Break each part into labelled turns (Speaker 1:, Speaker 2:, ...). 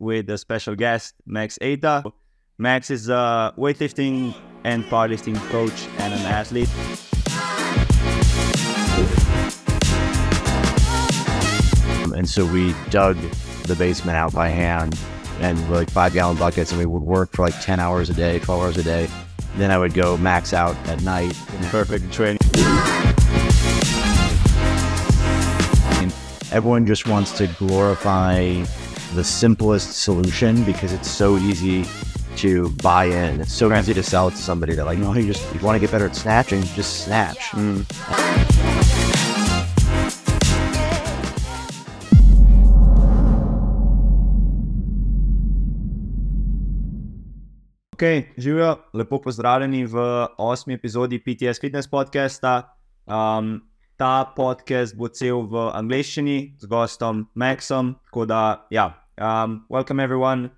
Speaker 1: with a special guest, Max Eta. Max is a weightlifting and powerlifting coach and an athlete.
Speaker 2: And so we dug the basement out by hand and were like five gallon buckets, and we would work for like 10 hours a day, 12 hours a day. Then I would go max out at night.
Speaker 1: Perfect training.
Speaker 2: And everyone just wants to glorify the simplest solution because it's so easy to buy in. It's so easy to sell it to somebody that like, no, you just you want to get better at snatching, just snatch.
Speaker 1: Ok, živijo, lepo pozdravljeni v osmi epizodi PTS Fitness podcasta. Um, ta podcast bo cel v angleščini z gostom Maxom. Tako da, ja, um, welcome everyone.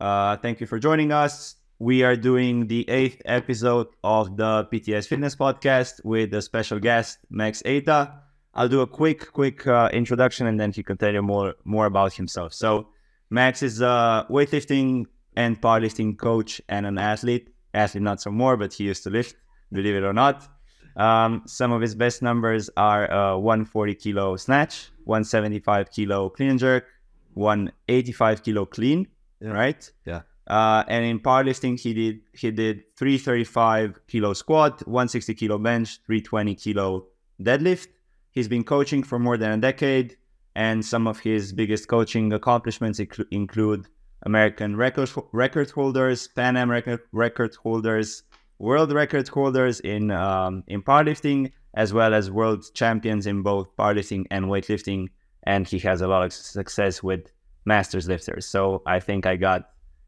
Speaker 1: Uh, thank you for joining us. We are doing the eighth episode of the PTS Fitness podcast with a special guest, Max Eta. I'll do a quick, quick uh, introduction and then he can tell you more, more about himself. So, Max is a weightlifting and powerlifting coach and an athlete. Athlete, not so more, but he used to lift, believe it or not. Um, some of his best numbers are uh, 140 kilo snatch, 175 kilo clean and jerk, 185 kilo clean, right?
Speaker 2: Yeah.
Speaker 1: Uh, and in powerlifting, he did he did 335 kilo squat, 160 kilo bench, 320 kilo deadlift. He's been coaching for more than a decade, and some of his biggest coaching accomplishments inclu- include American record record holders, Pan Am record record holders, world record holders in um, in powerlifting, as well as world champions in both powerlifting and weightlifting. And he has a lot of success with masters lifters. So I think I got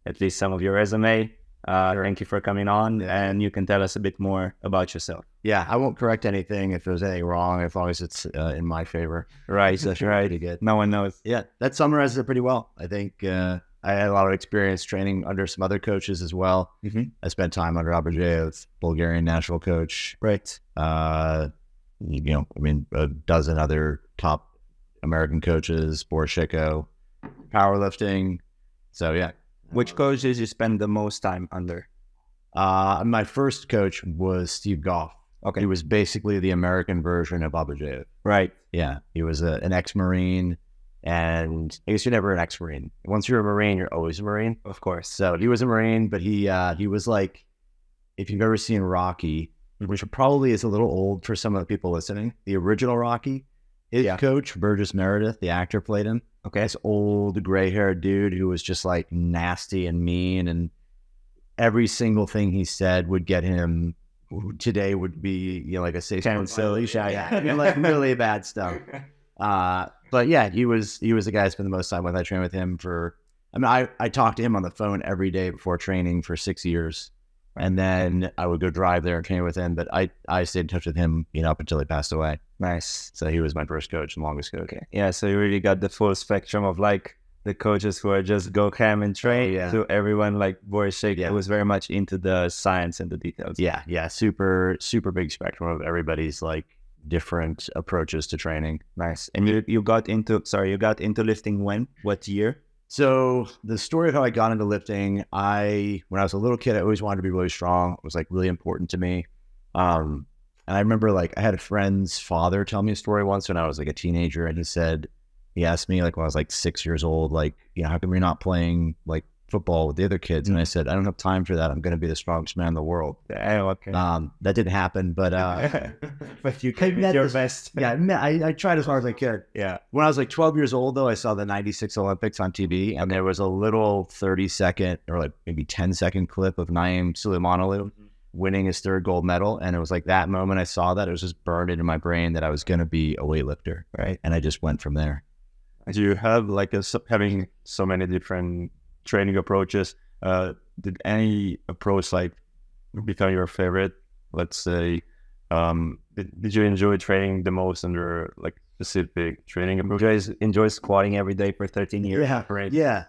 Speaker 1: at least some of your resume. Uh, Thank you for coming on, and you can tell us a bit more about yourself.
Speaker 2: Yeah, I won't correct anything if there's anything wrong, as long as it's uh, in my favor.
Speaker 1: Right,
Speaker 2: So that should be pretty good.
Speaker 1: No one knows.
Speaker 2: Yeah, that summarizes it pretty well. I think uh, I had a lot of experience training under some other coaches as well.
Speaker 1: Mhm.
Speaker 2: I spent time under Abajev, Bulgarian national coach.
Speaker 1: Right.
Speaker 2: Uh, you know, I mean, a dozen other top American coaches, Borshiko, powerlifting. So yeah, Oh.
Speaker 1: Which coach did you spend the most time under?
Speaker 2: uh, my first coach was Steve Goff.
Speaker 1: Okay.
Speaker 2: He was basically the American version of Abajev.
Speaker 1: Right.
Speaker 2: Yeah, he was a, an ex-marine, and I guess you're never an ex-marine. Once you're a marine, you're always a marine.
Speaker 1: Of course.
Speaker 2: So he was a marine, but he uh, he was like, if you've ever seen Rocky, which probably is a little old for some of the people listening, the original Rocky, his
Speaker 1: Yeah.
Speaker 2: coach Burgess Meredith, the actor, played him.
Speaker 1: Okay.
Speaker 2: This old gray-haired dude who was just like nasty and mean, and every single thing he said would get him. Today would be you know like a six
Speaker 1: Ten
Speaker 2: point
Speaker 1: silly.
Speaker 2: Yeah, yeah,
Speaker 1: Yeah.
Speaker 2: like really bad stuff. Uh, but yeah, he was he was the guy I spent the most time with. I trained with him for. I mean, I I talked to him on the phone every day before training for six years, and then I would go drive there and train with him. But I I stayed in touch with him, you know, up until he passed away.
Speaker 1: Nice.
Speaker 2: So he was my first coach and longest coach.
Speaker 1: Okay. Yeah. So you really got the full spectrum of like the coaches who are just go ham and train
Speaker 2: Oh, Yeah.
Speaker 1: to everyone like Boris Sheikh
Speaker 2: Yeah.
Speaker 1: who was very much into the science and the details.
Speaker 2: Yeah, yeah, super super big spectrum of everybody's like different approaches to training.
Speaker 1: Nice. And you, you got into sorry you got into lifting when what year?
Speaker 2: So the story of how I got into lifting, I when I was a little kid, I always wanted to be really strong. It was like really important to me. Um, and I remember like I had a friend's father tell me a story once when I was like a teenager, and he said he asked me like when I was like six years old, like you know how come you're not playing like football with the other kids? And I said I don't have time for that. I'm going to be the strongest man in the world.
Speaker 1: Oh, okay.
Speaker 2: Um, that didn't happen, but uh,
Speaker 1: but you
Speaker 2: I
Speaker 1: came
Speaker 2: met
Speaker 1: your
Speaker 2: this-
Speaker 1: best.
Speaker 2: yeah, I mean, I, I tried as hard as I could.
Speaker 1: Yeah.
Speaker 2: When I was like 12 years old, though, I saw the 96 Olympics on TV, and there was a little 30 second or like maybe 10 second clip of Naim Suleimanoglu winning his third gold medal. And it was like that moment I saw that, it was just burned into my brain that I was going to be a weightlifter.
Speaker 1: Right.
Speaker 2: And I just went from there.
Speaker 3: do you have like a, so- having so many different training approaches uh did any approach like become your favorite let's say um did, did you enjoy training the most under like specific training approach
Speaker 1: Enjoy, enjoy squatting every day for 13 years.
Speaker 2: Yeah.
Speaker 3: right
Speaker 2: Yeah.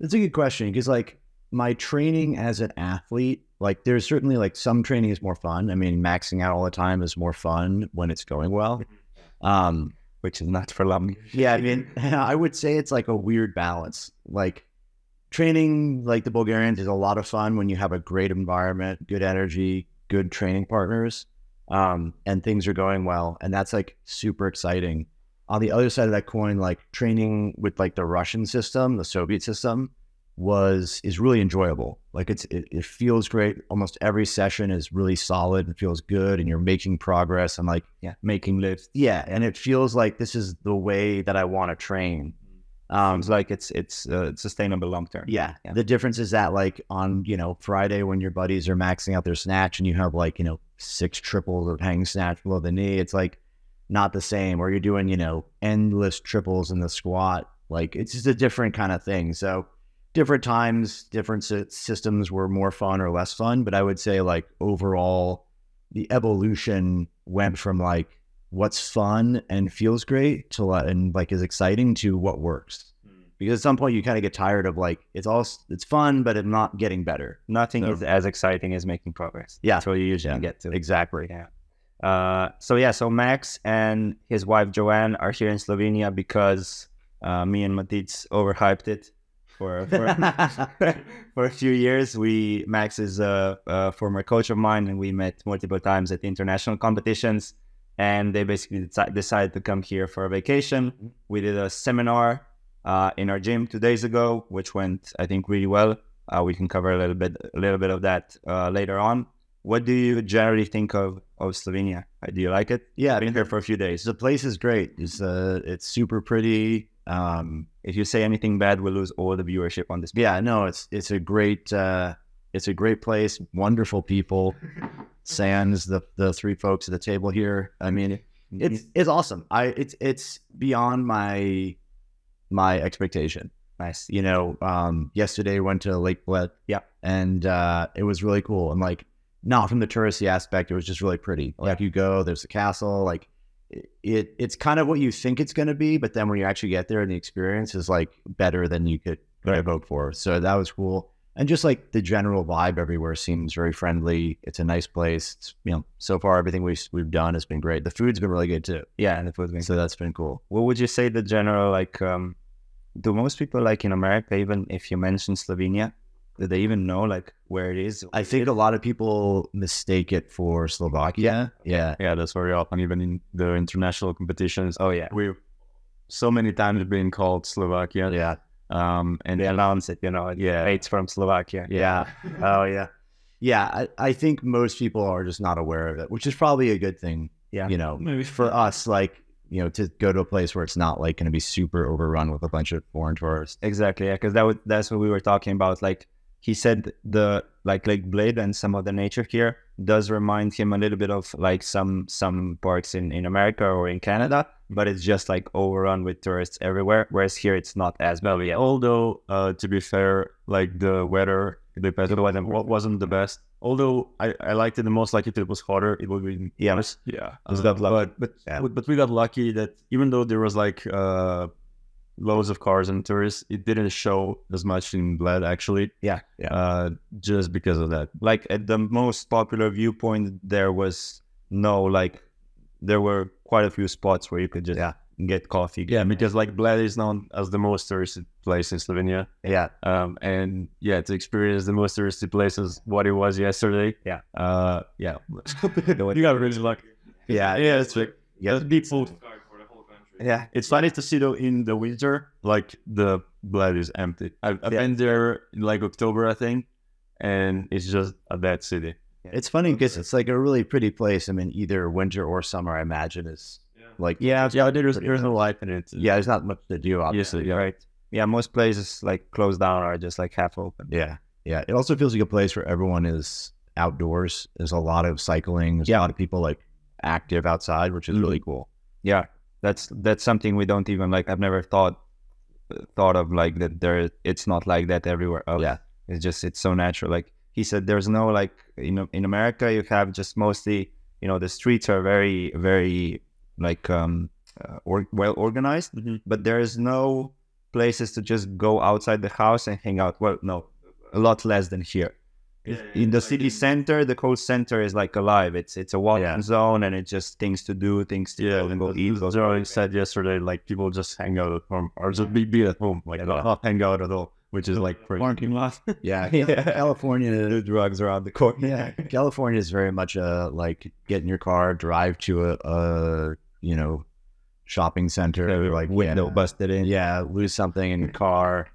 Speaker 2: That's a good question because, like, my training as an athlete, like, there's certainly like some training is more fun. I mean, maxing out all the time is more fun when it's going well. Um,
Speaker 1: Which is not for long.
Speaker 2: Yeah, I mean, I would say it's like a weird balance. Like, training like the Bulgarians is a lot of fun when you have a great environment, good energy, good training partners, um, and things are going well. And that's like super exciting. On the other side of that coin, like training with like the Russian system, the Soviet system was is really enjoyable. Like it's it, it feels great. Almost every session is really solid and feels good and you're making progress and like yeah,
Speaker 1: making lifts.
Speaker 2: yeah, and it feels like this is the way that I want to train. Um,
Speaker 1: Sounds like it's it's uh, sustainable long term.
Speaker 2: yeah.
Speaker 1: Yeah.
Speaker 2: The difference is that like on, you know, Friday when your buddies are maxing out their snatch and you have like, you know, six triples of hang snatch below the knee, it's like not the same. Or you're doing, you know, endless triples in the squat. Like it's just a different kind of thing. So different times, different sy- systems were more fun or less fun. But I would say like overall, the evolution went from like what's fun and feels great to like, and like is exciting to what works because at some point you kind of get tired of like it's all it's fun but it's not getting better
Speaker 1: Nothing
Speaker 2: So-
Speaker 1: is as exciting as making progress.
Speaker 2: Yeah.
Speaker 1: That's what you usually
Speaker 2: Yeah.
Speaker 1: get to.
Speaker 2: exactly
Speaker 1: Uh, so yeah, so Max and his wife Joanne are here in Slovenia because uh, me and Matiz overhyped it for for, for a few years. We Max is a, a former coach of mine, and we met multiple times at international competitions. And they basically deci- decided to come here for a
Speaker 2: Mm-hmm.
Speaker 1: vacation. We did a seminar uh, in our gym two days ago, which went I think really well. Uh, we can cover a little bit a little bit of that uh, later on. What do you generally think of of Slovenia? Uh, Do you like it?
Speaker 2: yeah
Speaker 1: I've been here for a few days.
Speaker 2: the place is great it's uh it's super pretty um
Speaker 1: If you say anything bad, we'll lose all the viewership on this.
Speaker 2: yeah no it's it's a great uh it's a great place wonderful people sans the the three folks at the table here i mean
Speaker 3: Mm-hmm.
Speaker 1: Mm-hmm.
Speaker 2: it's it's awesome i it's it's beyond my my expectation
Speaker 1: nice.
Speaker 2: you know, um, yesterday went to Lake Bled.
Speaker 1: Yeah.
Speaker 2: And uh, it was really cool. And like, not from the touristy aspect, it was just really pretty.
Speaker 1: Oh,
Speaker 2: Like you go, there's a castle, like it it's kind of what you think it's gonna be, but then when you actually get there and the experience is like better than you could
Speaker 1: Right.
Speaker 2: vote for. So that was cool. And just like the general vibe everywhere seems very friendly. It's a nice place. It's, you know, so far everything we've we've done has been great. The food's been really good too.
Speaker 1: Yeah, and the food wings.
Speaker 2: So that's been cool.
Speaker 1: What would you say the general like? Um, do most people like in America, even if you mention Slovenia, do they even know like where it is?
Speaker 2: I think a lot of people mistake it for Slovakia. Yeah.
Speaker 3: Yeah, that's very often, even in the international competitions.
Speaker 1: oh yeah,
Speaker 3: We've so many times been called Slovakia.
Speaker 2: Yeah.
Speaker 3: Um, and
Speaker 1: they announce it. You know, yeah, it's from Slovakia.
Speaker 2: Yeah. oh, yeah. Yeah. I, I think most people are just not aware of it, which is probably a good thing.
Speaker 1: Yeah.
Speaker 2: You know,
Speaker 3: maybe
Speaker 2: for us, like, you know, to go to a place where it's not like going to be super overrun with a bunch of foreign tourists.
Speaker 1: Exactly, yeah, because that would that's what we were talking about. Like he said, the like Lake Blade and some of the nature here does remind him a little bit of like some some parks in in America or in Canada, but it's just like overrun with tourists everywhere. Whereas here, it's not as bad.
Speaker 3: Well, yeah. Although, uh, to be fair, like the weather, the weather wasn't, wa- wasn't the best. Although I, I liked it the most, like if it was hotter, it would be
Speaker 1: Yeah.
Speaker 3: worse. Yeah, uh,
Speaker 1: Just got lucky.
Speaker 3: But but,
Speaker 2: Yeah.
Speaker 3: but but we got lucky that even though there was like uh, loads of cars and tourists, it didn't show as much in Bled actually.
Speaker 1: Yeah.
Speaker 2: Yeah.
Speaker 3: Uh, just because of that.
Speaker 1: Like at the most popular viewpoint, there was no like there were quite a few spots where you could just
Speaker 2: Yeah.
Speaker 1: get coffee.
Speaker 3: Yeah, because like Bled is known as the most touristy place in Slovenia.
Speaker 2: Yeah.
Speaker 3: um, and yeah, to experience the most touristy places, what it was yesterday.
Speaker 1: Yeah.
Speaker 3: uh, yeah,
Speaker 1: one-
Speaker 3: you got really lucky.
Speaker 2: Yeah.
Speaker 3: yeah, it's like
Speaker 2: Yeah.
Speaker 3: deep food.
Speaker 1: yeah.
Speaker 3: It's funny to see though in the winter, like the blood is empty. I've, I've
Speaker 1: Yeah.
Speaker 3: been there in like October, I think, and it's just a dead city.
Speaker 2: It's funny because it's like a really pretty place. I mean, either winter or summer, I imagine, is like,
Speaker 1: Yeah,
Speaker 3: Yeah, there's there's no life in it.
Speaker 2: yeah, there's not much to do. Obviously.
Speaker 3: obviously, yeah.
Speaker 1: right. Yeah, most places like closed down are just like half open.
Speaker 2: Yeah. Yeah. It also feels like a place where everyone is outdoors. There's a lot of cycling. There's
Speaker 1: Yeah.
Speaker 2: a lot of people like active outside, which is really cool.
Speaker 1: yeah that's that's something we don't even like i've never thought thought of like that there it's not like that everywhere else.
Speaker 2: Yeah.
Speaker 1: it's just it's so natural like he said there's no like in in america you have just mostly you know the streets are very very like um uh, or, well organized
Speaker 2: Mm-hmm.
Speaker 3: Mhm.
Speaker 1: but there is no places to just go outside the house and hang out well no a lot less than here in the city center, the cold center is like alive. It's it's a walking
Speaker 2: Yeah.
Speaker 1: zone, and it's just things to do, things to
Speaker 3: Yeah,
Speaker 1: go and go
Speaker 3: as-
Speaker 1: eat.
Speaker 3: as Gerald said yesterday, like people just hang out at home or just be, be at home, like not, not hang out at all, which is like pretty-
Speaker 1: Parking lot.
Speaker 2: Yeah.
Speaker 1: yeah.
Speaker 2: California.
Speaker 1: The drugs are on the corner.
Speaker 2: Yeah. California is very much a like get in your car, drive to a, a you know, shopping center, like
Speaker 1: Window
Speaker 2: yeah,
Speaker 1: busted in.
Speaker 2: yeah, lose something in your car,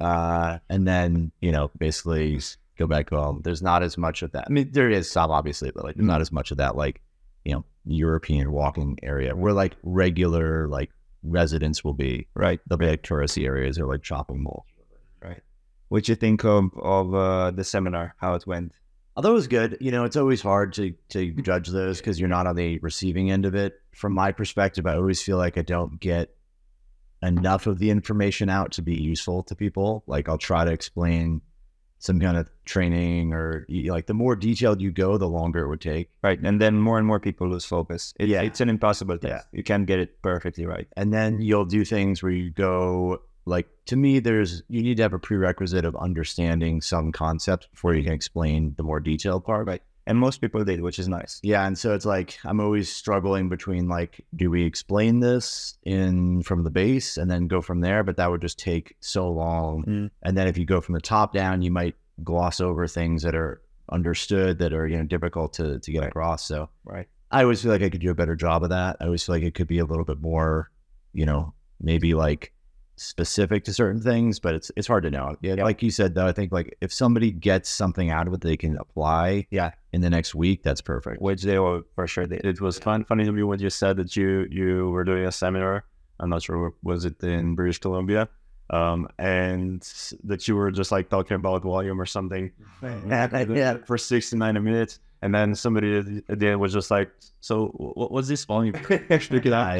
Speaker 2: uh, and then you know basically go back home. There's not as much of that. I mean, there is some obviously, but like not as much of that like you know European walking area where like regular like residents will be.
Speaker 1: Right.
Speaker 2: The big touristy areas are like shopping malls.
Speaker 1: What you think of of uh, the seminar? How it went?
Speaker 2: Although it was good, you know, it's always hard to to judge those because you're not on the receiving end of it. From my perspective, I always feel like I don't get enough of the information out to be useful to people. Like I'll try to explain some kind of training or y- like the more detailed you go, the longer it would take.
Speaker 1: Right. And then more and more people lose focus. It,
Speaker 2: Yeah.
Speaker 1: It's an impossible thing.
Speaker 2: Yeah.
Speaker 1: You can't get it perfectly right.
Speaker 2: And then you'll do things where you go like to me, there's you need to have a prerequisite of understanding some concepts before you can explain the more detailed part.
Speaker 1: Right. And most people did, which is nice.
Speaker 2: Yeah, and so it's like I'm always struggling between like, do we explain this in from the base and then go from there? But that would just take so long.
Speaker 1: Mm.
Speaker 2: And then if you go from the top down, you might gloss over things that are understood that are you know difficult to to get across. So
Speaker 1: Right.
Speaker 2: I always feel like I could do a better job of that. I always feel like it could be a little bit more, you know, maybe like specific to certain things, but it's it's hard to know. Yeah, like you said though, I think like if somebody gets something out of it they can apply
Speaker 1: Yeah.
Speaker 2: in the next week, that's perfect.
Speaker 1: Which they were for sure did.
Speaker 3: It was fun. Funny to me when you said that you you were doing a seminar. I'm not sure was it in British Columbia, um, and that you were just like talking about volume or something.
Speaker 2: yeah.
Speaker 3: for 69 minutes. And then somebody at the end was just like, so what was this volume? Actually, can I-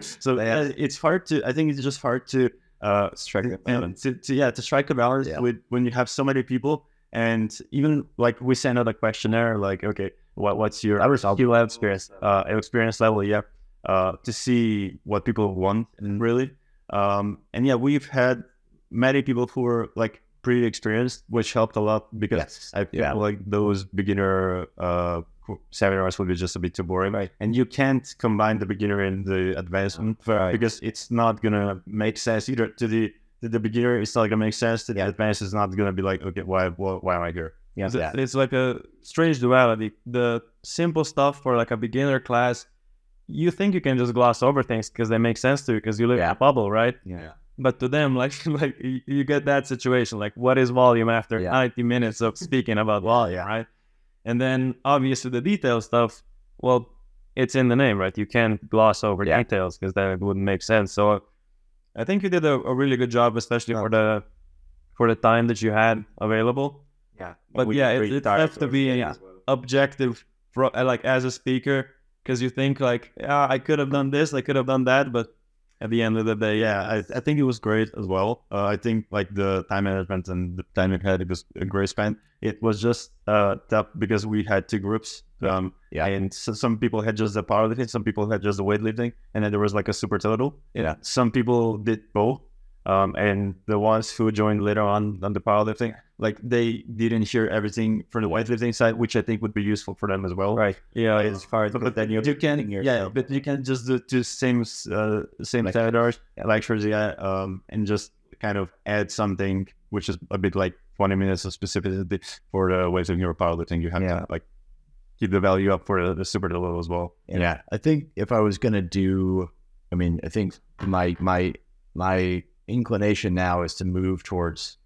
Speaker 3: so uh, it's hard to, I think it's just hard to, uh,
Speaker 1: Strike a balance.
Speaker 3: to, to- yeah, to strike a balance
Speaker 2: Yeah.
Speaker 3: with when you have so many people. And even like we send out a questionnaire, like, okay, what, what's your
Speaker 2: That was helpful.
Speaker 3: skill level experience, uh, experience level? Yeah. Uh, to see what people want
Speaker 1: Mm.
Speaker 3: really. Um, and yeah, we've had many people who were like pretty experienced, which helped a lot because
Speaker 2: Yes.
Speaker 3: I feel
Speaker 2: Yeah.
Speaker 3: like those beginner uh, co- seminars would be just a bit too boring. Right. And you can't combine the beginner and the advanced one because it's not gonna make sense either to the to the beginner. It's not gonna make sense to the advanced. It's not gonna be like okay, why why, why am I here?
Speaker 2: Yeah.
Speaker 4: It's, it's like a strange duality. The simple stuff for like a beginner class, you think you can just gloss over things because they make sense to you because you live in
Speaker 2: Yeah.
Speaker 4: a bubble, right?
Speaker 2: Yeah.
Speaker 4: But to them, like like you you get that situation, like what is volume after
Speaker 2: Yeah.
Speaker 4: 90 minutes of speaking about volume,
Speaker 2: yeah.
Speaker 4: right? And then obviously the detail stuff, well, it's in the name, right? You can't gloss over
Speaker 2: Yeah.
Speaker 4: details because then it wouldn't make sense. So I think you did a, a really good job, especially for the for the time that you had available
Speaker 1: Yeah.
Speaker 4: But yeah, it- it has to be, yeah. objective fro- uh, like as a speaker because you think like yeah i could have done this i could have done that but at the end of the day yeah
Speaker 3: yeah, I, I think it was great as well. Uh, I think like the time management and the time we had it was a great span. It was just uh, tough because we had two groups. Um,
Speaker 2: Yeah.
Speaker 3: and so some people had just the powerlifting, some people had just the weightlifting, and then there was like a super total.
Speaker 2: Yeah.
Speaker 3: some people did both. Um, and the ones who joined later on on the powerlifting, like they didn't hear everything from the weightlifting side, which I think would be useful for them as well. Right.
Speaker 4: yeah
Speaker 3: It's hard, but then you, you can, yeah, but you can just do two same, uh, same
Speaker 2: Like-
Speaker 3: seminars, lectures, yeah, um, and just kind of add something which is a bit like 20 minutes of specificity for the ways of your powerlifting. You have
Speaker 2: Yeah.
Speaker 3: to like keep the value up for the, the super level as well.
Speaker 2: Yeah. I think if I was gonna do I mean, I think my my my inclination now is to move towards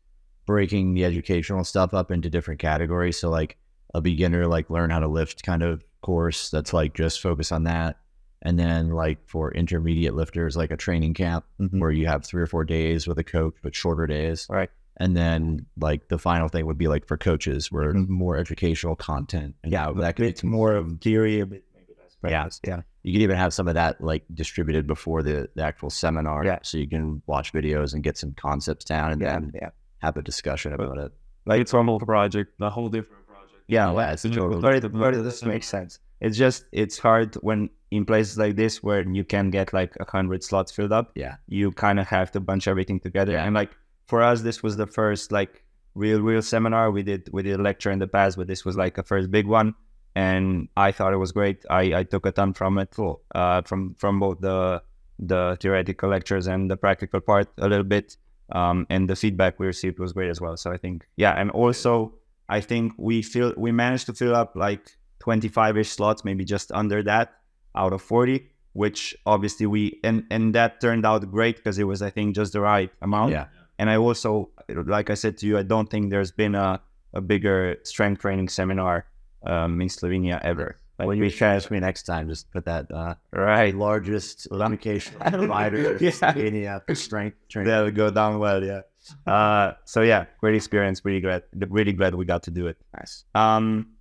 Speaker 2: breaking the educational stuff up into different categories. So like a beginner like learn how to lift kind of course that's like just focus on that. And then like for intermediate lifters, like a training camp where you have three or four days with a coach, but shorter days.
Speaker 1: Mm-hmm. Right.
Speaker 2: And then like the final thing would be like for coaches where more educational content. Yeah, that could
Speaker 1: Mm-hmm. It's more of theory, a bit. Maybe that's
Speaker 2: practice.
Speaker 1: Yeah.
Speaker 2: you can even have some of that like distributed before the, the actual seminar.
Speaker 1: Yeah.
Speaker 2: So you can watch videos and get some concepts down and then
Speaker 1: Yeah.
Speaker 2: have a discussion about it.
Speaker 4: like it's a whole project a whole different project
Speaker 1: Yeah.
Speaker 2: yeah, it's a total-
Speaker 1: But it, but it does make sense. It's just it's hard when in places like this where you can get like a hundred slots filled up.
Speaker 2: Yeah.
Speaker 1: you kind of have to bunch everything together. And like for us, this was the first like real real seminar we did. We did a lecture in the past, but this was like a first big one. And I thought it was great. I, I took a ton from it, uh, from from both the the theoretical lectures and the practical part a little bit. um, and the feedback we received was great as well. So I think yeah, and also I think we feel we managed to fill up like 25 ish slots, maybe just under that out of 40, which obviously we and and that turned out great because it was I think just the right amount.
Speaker 2: Yeah.
Speaker 1: And I also, like I said to you, I don't think there's been a, a bigger strength training seminar um, in Slovenia ever. Like
Speaker 2: when you
Speaker 1: we had-
Speaker 2: reach me next time, just put that uh,
Speaker 1: right.
Speaker 2: largest communication provider
Speaker 1: Yeah.
Speaker 2: in uh, strength training.
Speaker 1: That would go down well, yeah. Uh, so yeah, great experience. Really glad, really glad we got to do it.
Speaker 2: Nice.
Speaker 1: Um,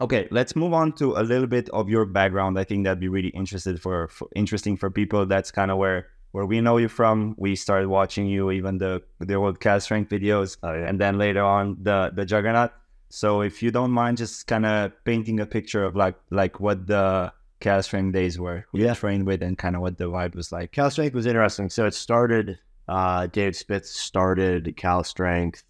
Speaker 1: okay, let's move on to a little bit of your background. I think that'd be really interested for, for interesting for people. That's kind of where where we know you from. We started watching you, even the the old cast strength videos,
Speaker 2: Oh,
Speaker 1: and then later on the the juggernaut. So if you don't mind, just kind of painting a picture of like like what the cast strength days were, who you
Speaker 2: Yeah.
Speaker 1: trained with, and kind of what the vibe was like.
Speaker 2: Cal Strength was interesting. So it started, uh, David Spitz started Cal Strength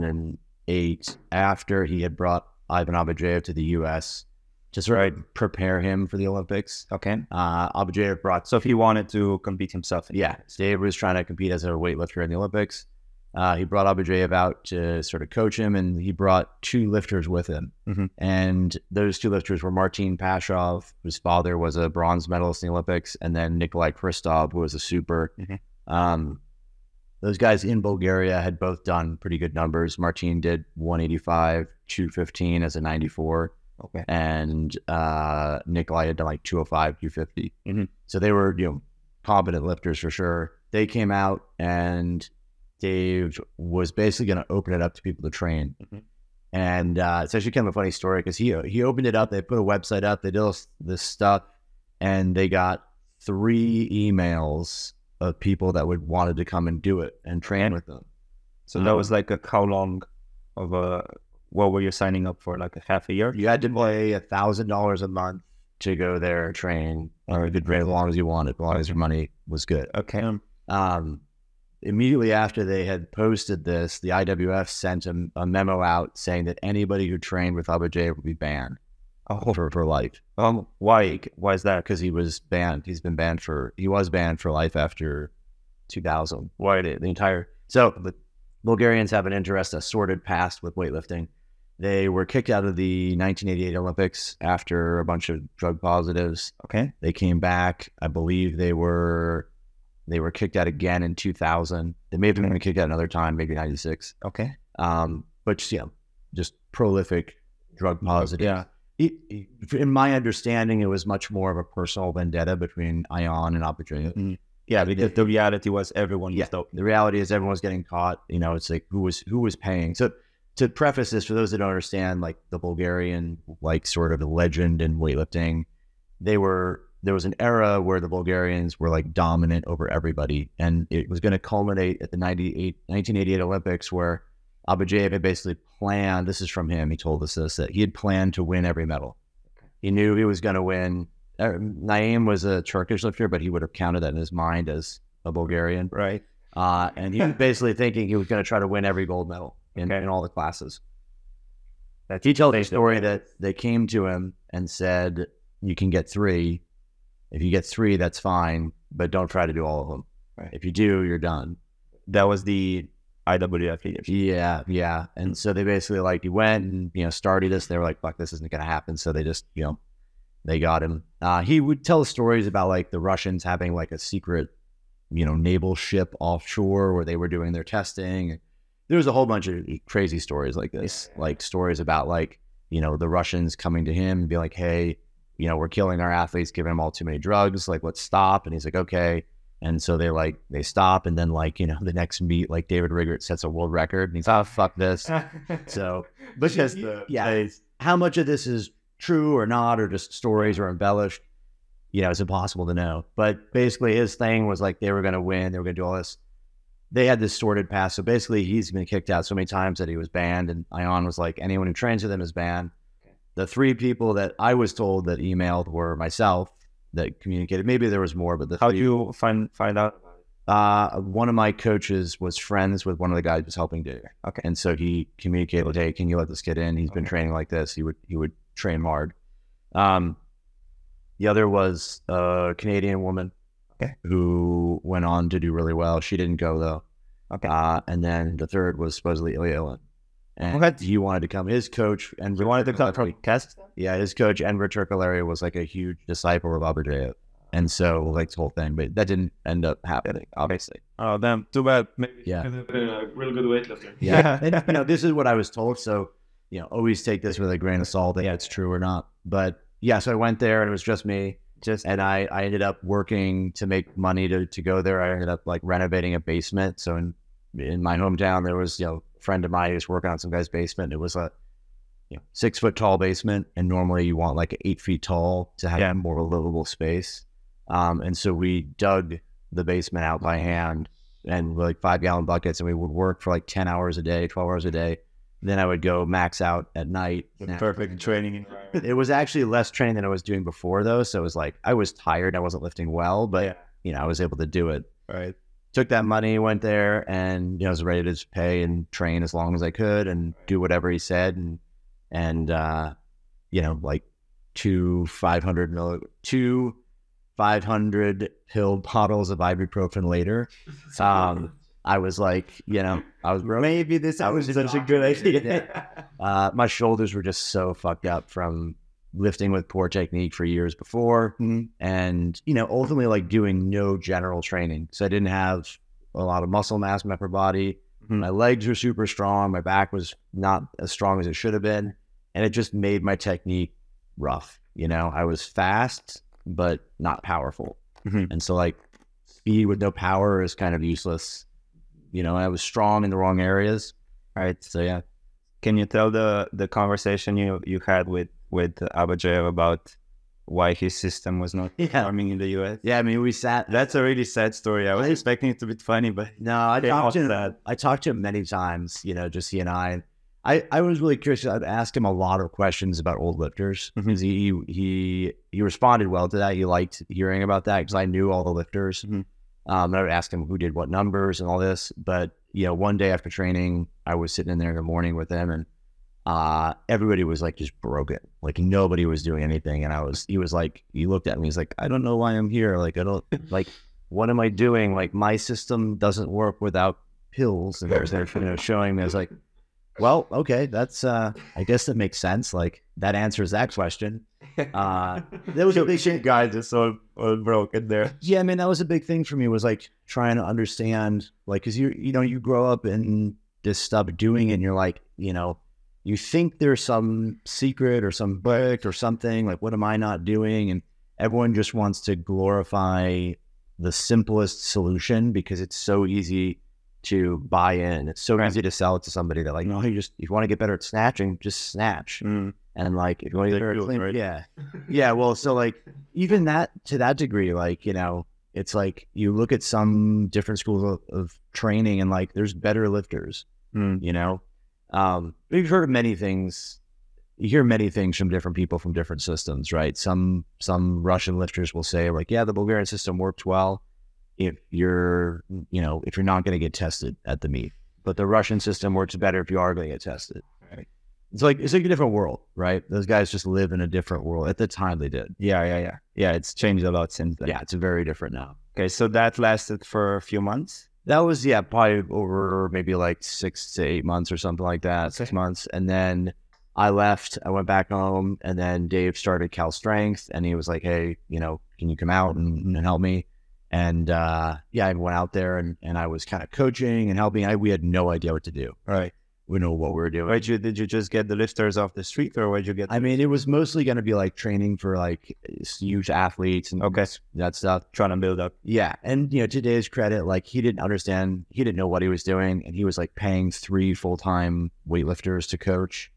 Speaker 2: 2008 after he had brought Ivan Abajev to the U.S. to sort of prepare him for the Olympics.
Speaker 1: Okay,
Speaker 2: Uh, Abajev brought
Speaker 1: so if he wanted to compete himself,
Speaker 2: Yeah, Dave was trying to compete as a weightlifter in the Olympics. Uh, he brought Abujayev out to sort of coach him, and he brought two lifters with him.
Speaker 1: Mhm.
Speaker 2: And those two lifters were Martin Pashov, whose father was a bronze medalist in the Olympics, and then Nikolai Kristov, who was a super.
Speaker 1: Mhm.
Speaker 2: Um, those guys in Bulgaria had both done pretty good numbers. Martin did 185, 215 as a 94
Speaker 1: okay,
Speaker 2: and uh, Nikolai had done like 205, 250.
Speaker 1: Mhm.
Speaker 2: So they were, you know, competent lifters for sure. They came out and Dave was basically going to open it up to people to train.
Speaker 1: Mhm.
Speaker 2: And uh, it's actually kind of a funny story because he he opened it up. They put a website up. They did all this stuff, and they got three emails of people that would wanted to come and do it and train with them.
Speaker 1: so that
Speaker 2: Um,
Speaker 1: was like a how long of a what were you signing up for? Like a half a year?
Speaker 2: You had to pay a thousand dollars a month to go there, train, or you could train as long as you wanted, as long as your money was good.
Speaker 1: Okay.
Speaker 2: Um, immediately after they had posted this, the IWF sent a, a memo out saying that anybody who trained with Abu J would be banned
Speaker 1: Oh,
Speaker 2: for, for life
Speaker 1: um, why? Why is that?
Speaker 2: because he was banned. He's been banned for he was banned for life after 2000.
Speaker 3: Why
Speaker 2: the entire so the Bulgarians have an interest, a sordid past with weightlifting. They were kicked out of the 1988 Olympics after a bunch of drug positives.
Speaker 1: Okay.
Speaker 2: They came back. I believe they were they were kicked out again in 2000. They may have been kicked out another time, maybe 96.
Speaker 1: Okay.
Speaker 2: Um, but just, yeah, just prolific drug positive.
Speaker 1: Yeah.
Speaker 2: It, it- in my understanding, it was much more of a personal vendetta between Ion and Opportunity.
Speaker 1: Yeah, because the reality was everyone
Speaker 2: Yeah.
Speaker 1: was dope.
Speaker 2: The reality is everyone's getting caught. You know, it's like who was who was paying. So to preface this, for those that don't understand, like the Bulgarian, like sort of a legend in weightlifting, they were there was an era where the Bulgarians were like dominant over everybody, and it was going to culminate at the 98, 1988 Olympics where Abajev had basically planned. This is from him. He told us this that he had planned to win every medal. He knew he was going to win. Uh, Naim was a Turkish lifter, but he would have counted that in his mind as a Bulgarian.
Speaker 1: Right.
Speaker 2: Uh, and he was basically thinking he was going to try to win every gold medal in,
Speaker 1: Okay.
Speaker 2: in all the classes. That he tells a story that they came to him and said, "You can get three. If you get three, that's fine, but don't try to do all of them.
Speaker 1: Right.
Speaker 2: If you do, you're done."
Speaker 1: That was the IWF leadership.
Speaker 2: Yeah, yeah. And so they basically like he went and you know started this. They were like, "Fuck, this isn't going to happen." So they just you know they got him. Uh, he would tell stories about like the Russians having like a secret you know naval ship offshore where they were doing their testing. There was a whole bunch of crazy stories like this, like stories about like you know the Russians coming to him and be like, "Hey, you know we're killing our athletes, giving them all too many drugs. Like let's stop." And he's like, "Okay." And so they like they stop, and then like you know the next meet, like David Riggert sets a world record, and he's oh fuck this. So
Speaker 1: but just
Speaker 3: uh,
Speaker 1: the
Speaker 2: Yeah. how much of this is true or not, or just stories or embellished, you know, it's impossible to know. But basically, his thing was like they were going to win, they were going to do all this. They had this sorted past, so basically, he's been kicked out so many times that he was banned, and Ion was like, anyone who trains with him is banned. The three people that I was told that emailed were myself that communicated. Maybe there was more, but the
Speaker 1: how do
Speaker 2: three-
Speaker 1: you find find out?
Speaker 2: uh, one of my coaches was friends with one of the guys who was helping Dave.
Speaker 1: Okay.
Speaker 2: And so he communicated, hey, can you let this kid in? He's been
Speaker 1: Okay.
Speaker 2: training like this. He would he would train hard. Um, the other was a Canadian woman
Speaker 1: Okay.
Speaker 2: who went on to do really well. She didn't go though.
Speaker 1: Okay.
Speaker 2: Uh, and then the third was supposedly Ilya Ilin. And
Speaker 1: Okay.
Speaker 2: he wanted to come. His coach and
Speaker 1: We wanted to come from Kazakhstan.
Speaker 2: yeah, his coach Enver Turkalaria was like a huge disciple of Abajev. And so like the whole thing, but that didn't end up happening, obviously.
Speaker 4: Oh damn, too bad. Maybe
Speaker 2: Yeah.
Speaker 4: could have been a real good weightlifter.
Speaker 2: Yeah. and, you know, this is what I was told. So, you know, always take this with a grain of salt. Yeah, it's true or not. But yeah, so I went there and it was just me.
Speaker 1: Just
Speaker 2: And I, I ended up working to make money to, to go there. I ended up like renovating a basement. So in, in my hometown, there was, you know, a friend of mine who was working on some guy's basement. It was a you know, six foot tall basement. And normally you want like eight feet tall to have
Speaker 4: Yeah.
Speaker 2: more livable space. Um, and so we dug the basement out by hand and with, like five gallon buckets and we would work for like 10 hours a day 12 hours a day then i would go max out at night
Speaker 3: The perfect training environment.
Speaker 2: it was actually less training than i was doing before though so it was like i was tired i wasn't lifting well but
Speaker 3: Yeah.
Speaker 2: you know i was able to do it
Speaker 3: Right.
Speaker 2: took that money went there and you know was ready to just pay and train as long as i could and do whatever he said and and uh you know like two 500 mil two 500 pill bottles of ibuprofen later um, I was like, you know, I was broke. Maybe this I was such a good idea. uh, my shoulders were just so fucked up from lifting with poor technique for years before,
Speaker 3: Mhm.
Speaker 2: and you know, ultimately like doing no general training, so I didn't have a lot of muscle mass in my upper body.
Speaker 3: Mhm.
Speaker 2: My legs were super strong. My back was not as strong as it should have been, and it just made my technique rough. You know, I was fast but not powerful,
Speaker 3: Mhm.
Speaker 2: and so like speed with no power is kind of useless. You know, I was strong in the wrong areas. All right, so yeah,
Speaker 1: Can you tell the the conversation you you had with with Abajev about why his system was not
Speaker 2: yeah,
Speaker 1: performing in the US?
Speaker 2: yeah. I mean, we sat.
Speaker 1: That's a really sad story. I was expecting it to be funny, but
Speaker 2: No, I
Speaker 1: They
Speaker 2: talked to
Speaker 1: all
Speaker 2: him.
Speaker 1: said.
Speaker 2: I talked to him many times. You know, just he and I. I, I was really curious. I'd asked him a lot of questions about old lifters
Speaker 1: Mhm.
Speaker 2: 'cause he, he he he responded well to that. He liked hearing about that because I knew all the lifters.
Speaker 1: Mhm.
Speaker 2: Um, and I would ask him who did what numbers and all this. But you know, one day after training, I was sitting in there in the morning with him, and uh, everybody was like just broken. Like nobody was doing anything, and I was. He was like, he looked at me. He's like, I don't know why I'm here. Like I don't like. What am I doing? Like my system doesn't work without pills. And there's, you know, showing me. I was like, well, okay, that's. uh I guess that makes sense. Like that answers that question. Uh, that was a big thing.
Speaker 3: Guys are so uh, broken there.
Speaker 2: Yeah, I mean, that was a big thing for me was like trying to understand, like, because you, you know, you grow up and just stop doing it and you're like, you know, you think there's some secret or some book or something, like, what am I not doing? And everyone just wants to glorify the simplest solution because it's so easy to buy in. It's so easy to sell it to somebody that, like, no, you just, if you want to get better at snatching, just snatch.
Speaker 3: Mm.
Speaker 2: And like, if you want to
Speaker 3: Like
Speaker 2: get better at
Speaker 3: you,
Speaker 2: clean,
Speaker 3: right?
Speaker 2: yeah, yeah. Well, so like, even that to that degree, like you know, it's like you look at some different schools of, of training, and like there's better lifters.
Speaker 3: Mm.
Speaker 2: You know, um, you've heard many things. You hear many things from different people from different systems, right? Some some Russian lifters will say like, yeah, the Bulgarian system worked well if you're you know if you're not going to get tested at the meet, but the Russian system works better if you are going to get tested.
Speaker 3: Right.
Speaker 2: It's like it's like a different world, right? Those guys just live in a different world. At the time, they did.
Speaker 1: yeah, yeah, yeah. Yeah, it's changed a lot since then.
Speaker 2: Yeah, it's very different now.
Speaker 1: Okay, so that lasted for a few months.
Speaker 2: That was yeah, probably over maybe like six to eight months or something like that. Six
Speaker 1: Okay.
Speaker 2: months, and then I left. I went back home, and then Dave started Cal Strength, and he was like, "Hey, you know, can you come out and, and help me?" And uh, yeah, I went out there, and, and I was kind of coaching and helping. I, we had no idea what to do.
Speaker 1: Right.
Speaker 2: We know what we were doing.
Speaker 1: Where'd you did you just get the lifters off the street or where'd you get
Speaker 2: I mean, it was mostly going to be like training for like youth athletes and
Speaker 1: Okay.
Speaker 2: that stuff.
Speaker 1: trying to build up?
Speaker 2: Yeah. And, you know, to Dave's credit, like he didn't understand, he didn't know what he was doing. And he was like paying three full time weightlifters to coach.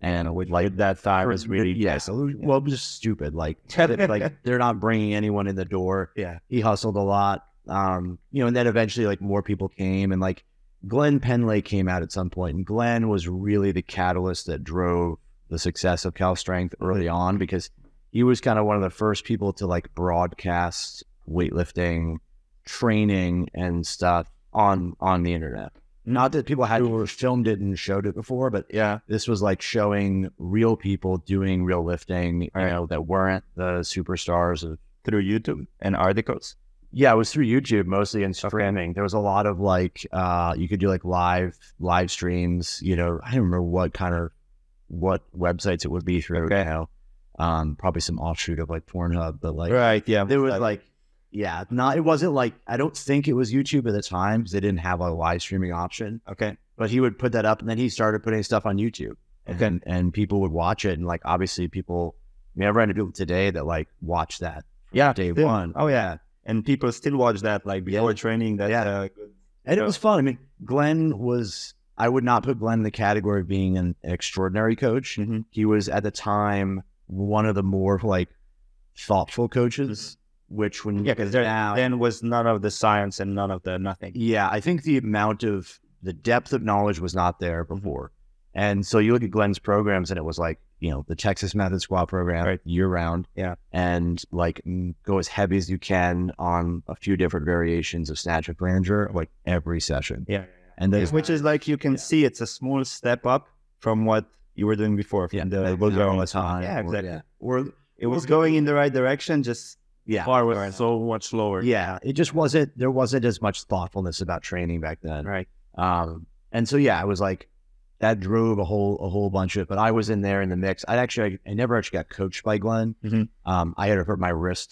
Speaker 2: And with like that thigh
Speaker 1: was really-
Speaker 2: yeah, so, well, it was just stupid. Like, that- like they're not bringing anyone in the door.
Speaker 1: Yeah.
Speaker 2: He hustled a lot. Um, you know, and then eventually like more people came and like Glenn Penlay came out at some point and Glenn was really the catalyst that drove the success of Cal Strength early on because he was kind of one of the first people to like broadcast weightlifting training and stuff on on the internet. Not that people had who filmed it and showed it before, but
Speaker 1: Yeah.
Speaker 2: this was like showing real people doing real lifting, you know, that weren't the superstars of
Speaker 1: Through YouTube and articles.
Speaker 2: Yeah, it was through YouTube mostly and streaming. There was a lot of like uh you could do like live live streams, you know, I don't remember what kind of what websites it would be through
Speaker 1: Okay.
Speaker 2: now. Um probably some offshoot of like Pornhub, but like
Speaker 1: Right. Yeah.
Speaker 2: there was like yeah, not it wasn't like I don't think it was YouTube at the time 'cause they didn't have a live streaming option.
Speaker 1: Okay.
Speaker 2: But he would put that up and then he started putting stuff on YouTube.
Speaker 1: Okay.
Speaker 2: And and people would watch it and like obviously people I mean I ran into people today that like watch that
Speaker 1: Yeah.
Speaker 2: day
Speaker 1: yeah.
Speaker 2: one.
Speaker 1: Oh yeah. And people still watch that like before training. That
Speaker 2: Yeah.
Speaker 1: uh, good-
Speaker 2: And it
Speaker 1: Yeah.
Speaker 2: was fun. I mean, Glenn was, I would not put Glenn in the category of being an extraordinary coach.
Speaker 1: Mhm.
Speaker 2: He was at the time one of the more like thoughtful coaches, which when you
Speaker 1: Mm-hmm. yeah,
Speaker 2: look at
Speaker 1: because
Speaker 2: it
Speaker 1: there
Speaker 2: now,
Speaker 1: then was none of the science and none of the nothing.
Speaker 2: yeah, I think the amount of the depth of knowledge was not there before. And so you look at Glenn's programs and it was like, you know, the Texas Method Squad program
Speaker 1: Right.
Speaker 2: year round.
Speaker 1: Yeah.
Speaker 2: And like mm, go as heavy as you can on a few different variations of snatch and flanger, like every session.
Speaker 1: Yeah.
Speaker 2: And then
Speaker 1: Which is like you can see it's a small step up from what you were doing before. From
Speaker 2: Yeah,
Speaker 1: the
Speaker 2: like
Speaker 1: Bulgarian
Speaker 2: now on the
Speaker 1: lesson.
Speaker 2: time
Speaker 1: Yeah,
Speaker 2: or-
Speaker 1: exactly.
Speaker 2: yeah.
Speaker 1: Or it was going in the right direction, just
Speaker 2: Yeah.
Speaker 4: Bar was so much lower.
Speaker 2: Yeah. It just wasn't, there wasn't as much thoughtfulness about training back then.
Speaker 1: Right.
Speaker 2: Um, and so, yeah, I was like, that drove a whole, a whole bunch of, but I was in there in the mix. I actually, I, never actually got coached by Glenn.
Speaker 1: Mhm.
Speaker 2: Um, I had hurt my wrist.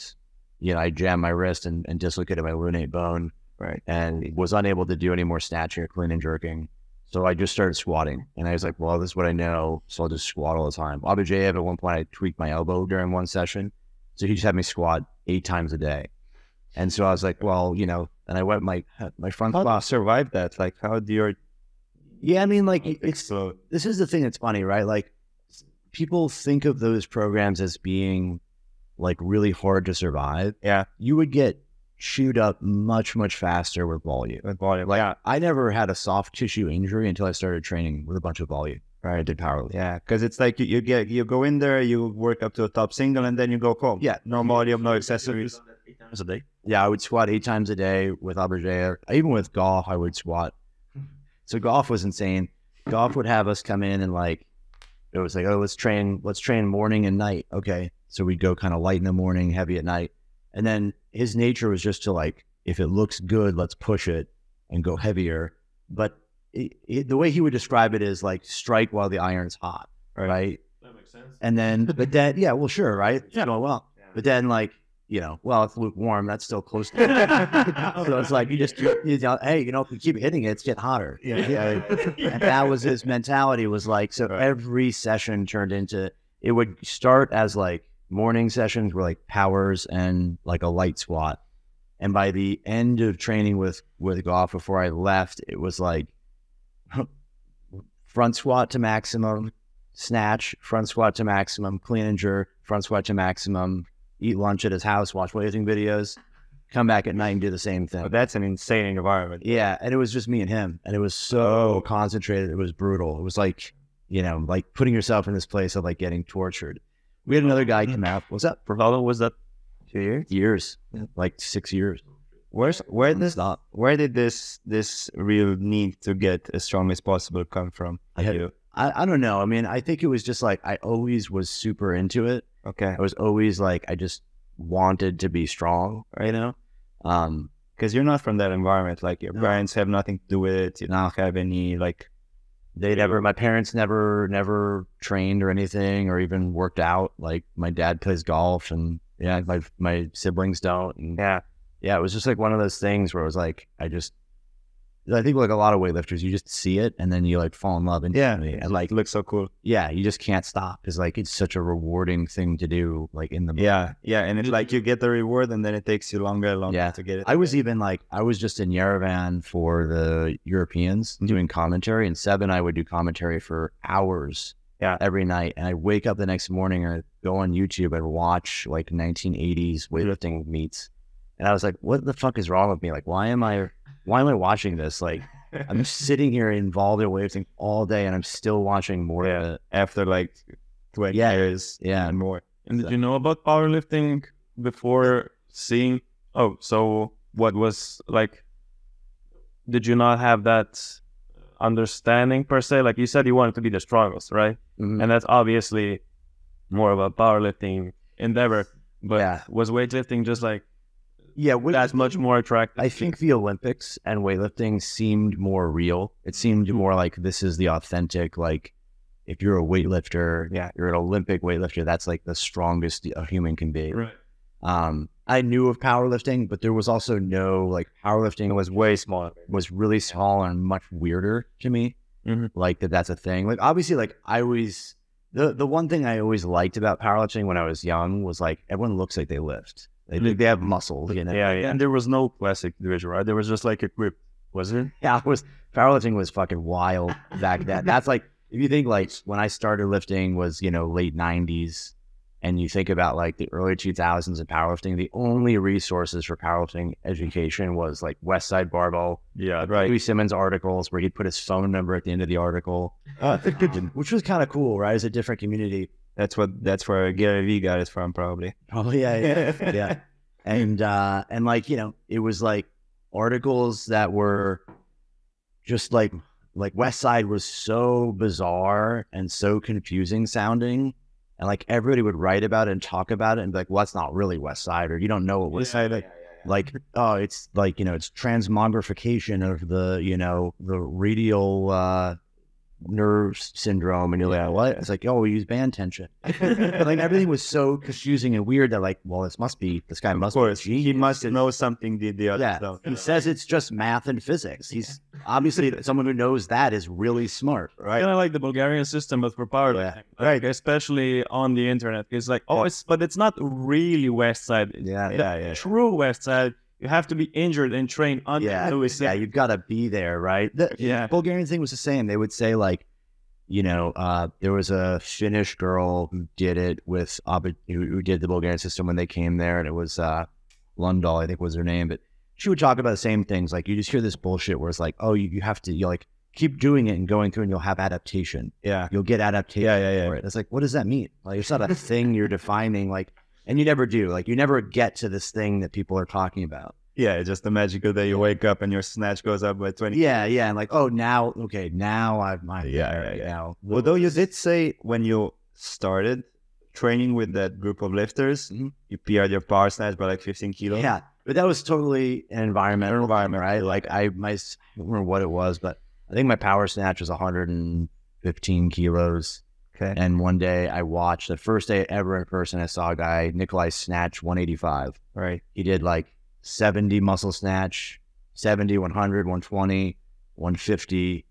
Speaker 2: You know, I jammed my wrist and, and dislocated my lunate bone.
Speaker 1: Right.
Speaker 2: And was unable to do any more snatching or clean and jerking. So I just started squatting. And I was like, well, this is what I know. So I'll just squat all the time. Abujayev, at one point, I tweaked my elbow during one session. So he just had me squat eight times a day. And so I was like, well, you know, and I went my my front
Speaker 1: how do you
Speaker 2: class.
Speaker 1: survive that? Like how do you
Speaker 2: Yeah, I mean, like it's
Speaker 1: explode?
Speaker 2: this is the thing that's funny, right? Like people think of those programs as being like really hard to survive.
Speaker 1: Yeah.
Speaker 2: You would get chewed up much, much faster with volume.
Speaker 1: With volume.
Speaker 2: Like
Speaker 1: yeah.
Speaker 2: I never had a soft tissue injury until I started training with a bunch of volume. Right. I did powerlifting.
Speaker 1: Yeah, because it's like you, you get you go in there, you work up to a top single, and then you go home.
Speaker 2: Yeah.
Speaker 1: no volume, no accessories.
Speaker 3: a day.
Speaker 2: Yeah, I would squat eight times a day with Aubergere. Even with golf, I would squat. So golf was insane. Golf would have us come in and like it was like, oh, let's train, let's train morning and night. Okay. So we'd go kind of light in the morning, heavy at night. And then his nature was just to like, if it looks good, let's push it and go heavier. But it, it, the way he would describe it is like strike while the iron's hot,
Speaker 1: Right.
Speaker 2: right?
Speaker 3: That makes sense.
Speaker 2: And then, but then, yeah, well, sure, right? Yeah, well, well.
Speaker 3: Yeah.
Speaker 2: But then, like, you know, well, it's lukewarm. That's still close. To so it's like you just, you know, hey, you know, if you keep hitting it, it's getting hotter.
Speaker 1: Yeah.
Speaker 2: And that was his mentality. Was like, so every session turned into it would start as like morning sessions were like powers and like a light squat, and by the end of training with with golf, before I left, it was like front squat to maximum, snatch, front squat to maximum, clean and jerk, front squat to maximum, eat lunch at his house, watch weightlifting videos, come back at night and do the same thing.
Speaker 1: But that's an insane environment.
Speaker 2: yeah, and it was just me and him, and it was so concentrated. It was brutal. It was like you know, like putting yourself in this place of like getting tortured. We had another guy come out. What's up?
Speaker 3: For how long was that?
Speaker 2: Two years? Years, like six years.
Speaker 1: Where's where this
Speaker 2: Stop.
Speaker 1: where did this this real need to get as strong as possible come from?
Speaker 2: I had-
Speaker 1: You-
Speaker 2: I, I don't know. I mean, I think it was just like I always was super into it.
Speaker 1: Okay,
Speaker 2: I was always like I just wanted to be strong, you know. Um,
Speaker 1: because you're not from that environment. Like your
Speaker 2: No.
Speaker 1: parents have nothing to do with it. You don't have any like.
Speaker 2: they never, my parents never, never trained or anything, or even worked out. Like my dad plays golf, and yeah, my my siblings don't. And
Speaker 1: Yeah.
Speaker 2: yeah, it was just like one of those things where it was like I just, I think like a lot of weightlifters, you just see it and then you like fall in love and
Speaker 1: Yeah.
Speaker 2: and like
Speaker 1: It looks so cool.
Speaker 2: yeah, you just can't stop. It's like it's such a rewarding thing to do, like in the
Speaker 1: Yeah, yeah, and it's like you get the reward, and then it takes you longer, and longer
Speaker 2: Yeah.
Speaker 1: to get it.
Speaker 2: I was even like I was just in Yerevan for the Europeans doing commentary, and Seb and I would do commentary for hours.
Speaker 1: Yeah.
Speaker 2: every night, and I would wake up the next morning and I'd go on YouTube and watch like 1980s weightlifting meets, and I was like, "What the fuck is wrong with me? Like, why am I, why am I watching this? Like, I'm sitting here involved in weightlifting all day, and I'm still watching more of it.
Speaker 1: after like twelve
Speaker 2: Yeah.
Speaker 1: years,
Speaker 2: Yeah,
Speaker 1: and more.
Speaker 4: And did you know about powerlifting before seeing? Oh, so what was like? Did you not have that understanding per se? Like you said, you wanted to be the strongest, right?
Speaker 1: Mm-hmm.
Speaker 2: Mhm.
Speaker 4: And that's obviously more of a powerlifting endeavor. But
Speaker 2: Yeah.
Speaker 4: was weightlifting just like
Speaker 2: yeah, weight-
Speaker 4: that's much more attractive.
Speaker 2: I think the Olympics and weightlifting seemed more real. It seemed more like this is the authentic, like if you're a weightlifter, yeah, you're an Olympic weightlifter, that's like the strongest a human can be.
Speaker 4: Right.
Speaker 2: Um, I knew of powerlifting, but there was also no like powerlifting was
Speaker 1: way smaller.
Speaker 2: was really small and much weirder to me.
Speaker 4: Mhm.
Speaker 2: Like that, that's a thing. Like obviously, like I always the the one thing I always liked about powerlifting when I was young was like everyone looks like they lift. They they have muscle, you know.
Speaker 3: Yeah, yeah. And there was no classic division, right? There was just like a grip, was it?
Speaker 2: Yeah, it was powerlifting was fucking wild back then. That's like if you think like when I started lifting was you know late '90s, and you think about like the early 2000s of powerlifting, the only resources for powerlifting education was like West Side Barbell,
Speaker 3: Yeah,
Speaker 2: Louis Simmons articles where he'd put his phone number at the end of the article, um, which was kind of cool, right? It's a different community.
Speaker 1: That's what that's where Gary Vee got it from, probably.
Speaker 2: Oh yeah, yeah. yeah. And uh and like, you know, it was like articles that were just like like West Side was so bizarre and so confusing sounding. And like everybody would write about it and talk about it and be like, well, that's not really West Side or you don't know what West Side
Speaker 1: like-
Speaker 2: like oh it's like, you know, it's transmogrification of the, you know, the radial uh nerve syndrome and you're like, what? It's like, oh, we use band tension. But, like everything was so confusing and weird that like, well, this must be this guy
Speaker 1: Of
Speaker 2: must
Speaker 1: course,
Speaker 2: be a
Speaker 1: he
Speaker 2: genius.
Speaker 1: must know something the, the other
Speaker 2: Yeah.
Speaker 1: don't.
Speaker 2: He says it's just math and physics. He's obviously someone who knows that is really smart.
Speaker 1: right?
Speaker 4: kind of like the Bulgarian system, but for powerlifting,
Speaker 2: Yeah.
Speaker 1: Right.
Speaker 4: Like, especially on the internet. It's like, oh, it's but it's not really West Side.
Speaker 2: Yeah,
Speaker 4: The
Speaker 1: yeah, yeah.
Speaker 4: True West Side, you have to be injured and train under
Speaker 2: Yeah,
Speaker 4: Louis.
Speaker 2: yeah, you've got to be there, right? The
Speaker 4: Yeah.
Speaker 2: Bulgarian thing was the same. They would say like, you know, uh, there was a Finnish girl who did it with Abed, who, who did the Bulgarian system when they came there, and it was uh, Lundahl, I think was her name, but she would talk about the same things. Like you just hear this bullshit where it's like, oh, you, you have to, you like keep doing it and going through, and you'll have adaptation.
Speaker 1: Yeah.
Speaker 2: You'll get adaptation.
Speaker 1: Yeah, yeah, yeah.
Speaker 2: for it. It's like, what does that mean? Like, it's not a thing you're defining. Like, and you never do. Like, you never get to this thing that people are talking about.
Speaker 1: Yeah, it's just the magical day you wake up and your snatch goes up by 20.
Speaker 2: Yeah, yeah, and like, oh, now, okay, now I've my
Speaker 1: Yeah, yeah,
Speaker 2: right
Speaker 1: yeah.
Speaker 2: now.
Speaker 1: Although you did say when you started training with that group of lifters,
Speaker 2: Mhm.
Speaker 1: you PR'd your power snatch by like 15 kilos.
Speaker 2: yeah, but that was totally an environmental environment, right? Like, I my I don't remember what it was, but I think my power snatch was 115 kilos.
Speaker 1: Okay.
Speaker 2: And one day I watched the first day ever in person, I saw a guy Nikolai snatch 185.
Speaker 1: Right.
Speaker 2: He did like 70 muscle snatch, 70, 100, 120, 150,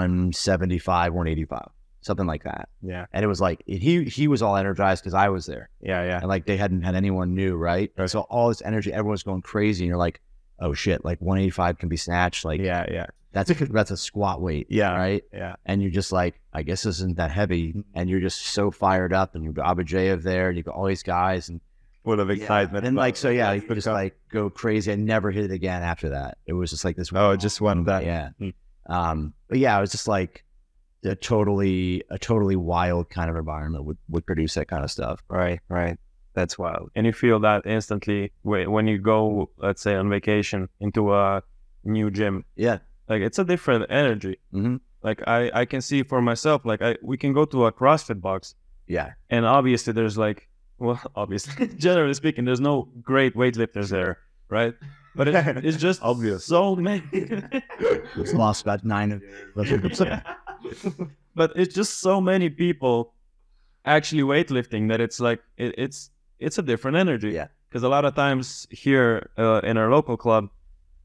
Speaker 2: 175, 185, something like that.
Speaker 1: Yeah.
Speaker 2: And it was like he he was all energized because I was there,
Speaker 1: Yeah, yeah.
Speaker 2: and like they hadn't had anyone new, right?
Speaker 1: Right.
Speaker 2: So all this energy, everyone's going crazy, and you're like, oh shit, like 185 can be snatched, like
Speaker 1: Yeah, yeah.
Speaker 2: that's a that's a squat weight,
Speaker 1: Yeah.
Speaker 2: right?
Speaker 1: Yeah. Mm-hmm.
Speaker 2: And you're just like, I guess this isn't that heavy, and you're just so fired up, and you've got Abajev there, and you've got all these guys, and
Speaker 1: Full of excitement.
Speaker 2: and like so, yeah,
Speaker 1: Like,
Speaker 2: you could just
Speaker 1: become-
Speaker 2: like go crazy. I never hit it again after that. It was just like this.
Speaker 1: Oh, just one that.
Speaker 2: yeah.
Speaker 1: Hmm.
Speaker 2: Um, but yeah, it was just like a totally a totally wild kind of environment would would produce that kind of stuff.
Speaker 1: Right, right. That's wild.
Speaker 4: and you feel that instantly whe- when you go, let's say, on vacation into a new gym.
Speaker 2: Yeah.
Speaker 4: like it's a different energy.
Speaker 1: Mm-hmm.
Speaker 2: Mhm.
Speaker 4: Like I, I can see for myself. Like I, we can go to a CrossFit box,
Speaker 2: Yeah,
Speaker 4: and obviously there's like, well, obviously, generally speaking, there's no great weightlifters there, right? But it, it's just obvious. So many.
Speaker 2: it's lost about nine of
Speaker 4: but it's just so many people actually weightlifting that it's like it, it's it's a different energy.
Speaker 2: Yeah.
Speaker 4: Because a lot of times here uh, in our local club,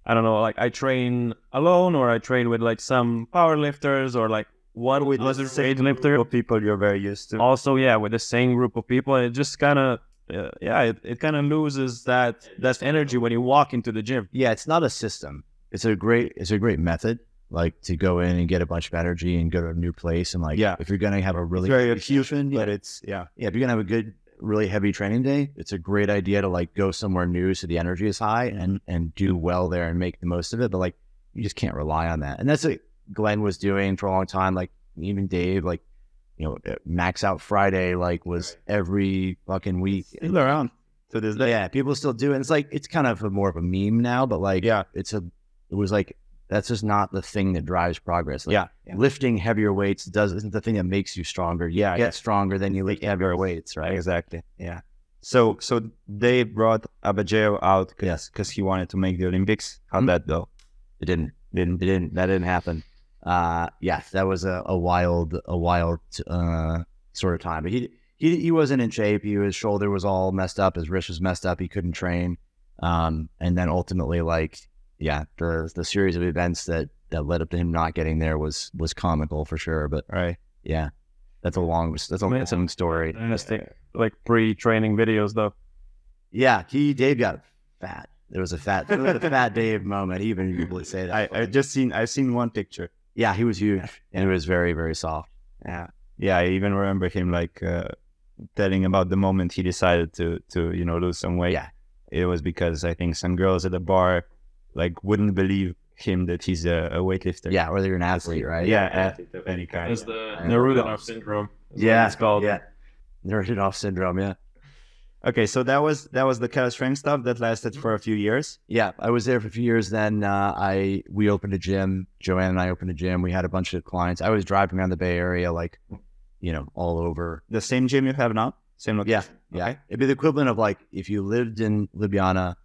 Speaker 4: I don't know, like I train alone or I train with like some powerlifters or like one with other weightlifter.
Speaker 1: For people you're very used to.
Speaker 4: Also, yeah, with the same group of people, and it just kind of. Uh, yeah, it, it kind of loses that that energy when you walk into the gym.
Speaker 2: yeah. It's not a system. It's a great it's a great method. Like to go in and get a bunch of energy and go to a new place and like
Speaker 1: Yeah.
Speaker 2: if you're gonna have a really
Speaker 1: very acute,
Speaker 2: yeah.
Speaker 1: but it's, yeah.
Speaker 2: yeah, if you're gonna have a good, really heavy training day, it's a great idea to like go somewhere new so the energy is high and and do well there and make the most of it. But like you just can't rely on that, and that's what Glenn was doing for a long time. Like even Dave, like you know, uh, Max Out Friday, like was every fucking week.
Speaker 1: Still around to this day.
Speaker 2: Yeah, people still do, it. it's like it's kind of a, more of a meme now, but like
Speaker 1: Yeah.
Speaker 2: it's a it was like that's just not the thing that drives progress. Like,
Speaker 1: Yeah. Yeah.
Speaker 2: lifting heavier weights does isn't the thing that makes you stronger. You
Speaker 1: Yeah,
Speaker 2: get
Speaker 1: yeah.
Speaker 2: stronger than you lift heavier weights, right?
Speaker 1: Exactly. Yeah. So so they brought Abajayo out because
Speaker 2: Yes.
Speaker 1: he wanted to make the Olympics. How'd
Speaker 2: Mhm.
Speaker 1: that go?
Speaker 2: It didn't.
Speaker 1: Didn't
Speaker 2: It didn't. That didn't happen. Uh, yeah, that was a, a wild, a wild uh, sort of time. But he, he he wasn't in shape. He, his shoulder was all messed up. His wrist was messed up. He couldn't train. Um, and then ultimately, like, yeah, the the series of events that that led up to him not getting there was was comical for sure. But
Speaker 1: right?
Speaker 2: yeah, that's a long that's a
Speaker 4: Man,
Speaker 2: long story.
Speaker 4: Interesting. Like pre-training videos though.
Speaker 2: Yeah, he Dave got fat. There was a fat, there was a fat Dave moment. He even would say
Speaker 1: I
Speaker 2: that.
Speaker 1: I just seen I've seen one picture.
Speaker 2: yeah, he was huge and he was very very soft.
Speaker 1: Yeah, yeah. I even remember him like uh, telling about the moment he decided to to you know lose some weight.
Speaker 2: Yeah.
Speaker 1: it was because I think some girls at the bar like wouldn't believe him that he's a, a weightlifter.
Speaker 2: Yeah, whether you're an athlete, right?
Speaker 1: yeah, athlete of any kind.
Speaker 4: It's the
Speaker 2: Yeah.
Speaker 4: Nerudanov syndrome. is what
Speaker 2: Yeah,
Speaker 4: it's called.
Speaker 2: yeah. Nerdinoff syndrome. Yeah,
Speaker 1: Okay, so that was that was the Cal Strength stuff that lasted for a few years.
Speaker 2: yeah. I was there for a few years. Then uh, I we opened a gym. Joanne and I opened a gym. We had a bunch of clients. I was driving around the Bay Area, like you know, all over.
Speaker 1: The same gym you have now, same
Speaker 2: Yeah,
Speaker 1: location.
Speaker 2: yeah.
Speaker 1: Okay.
Speaker 2: It'd be the equivalent of like if you lived in Ljubljana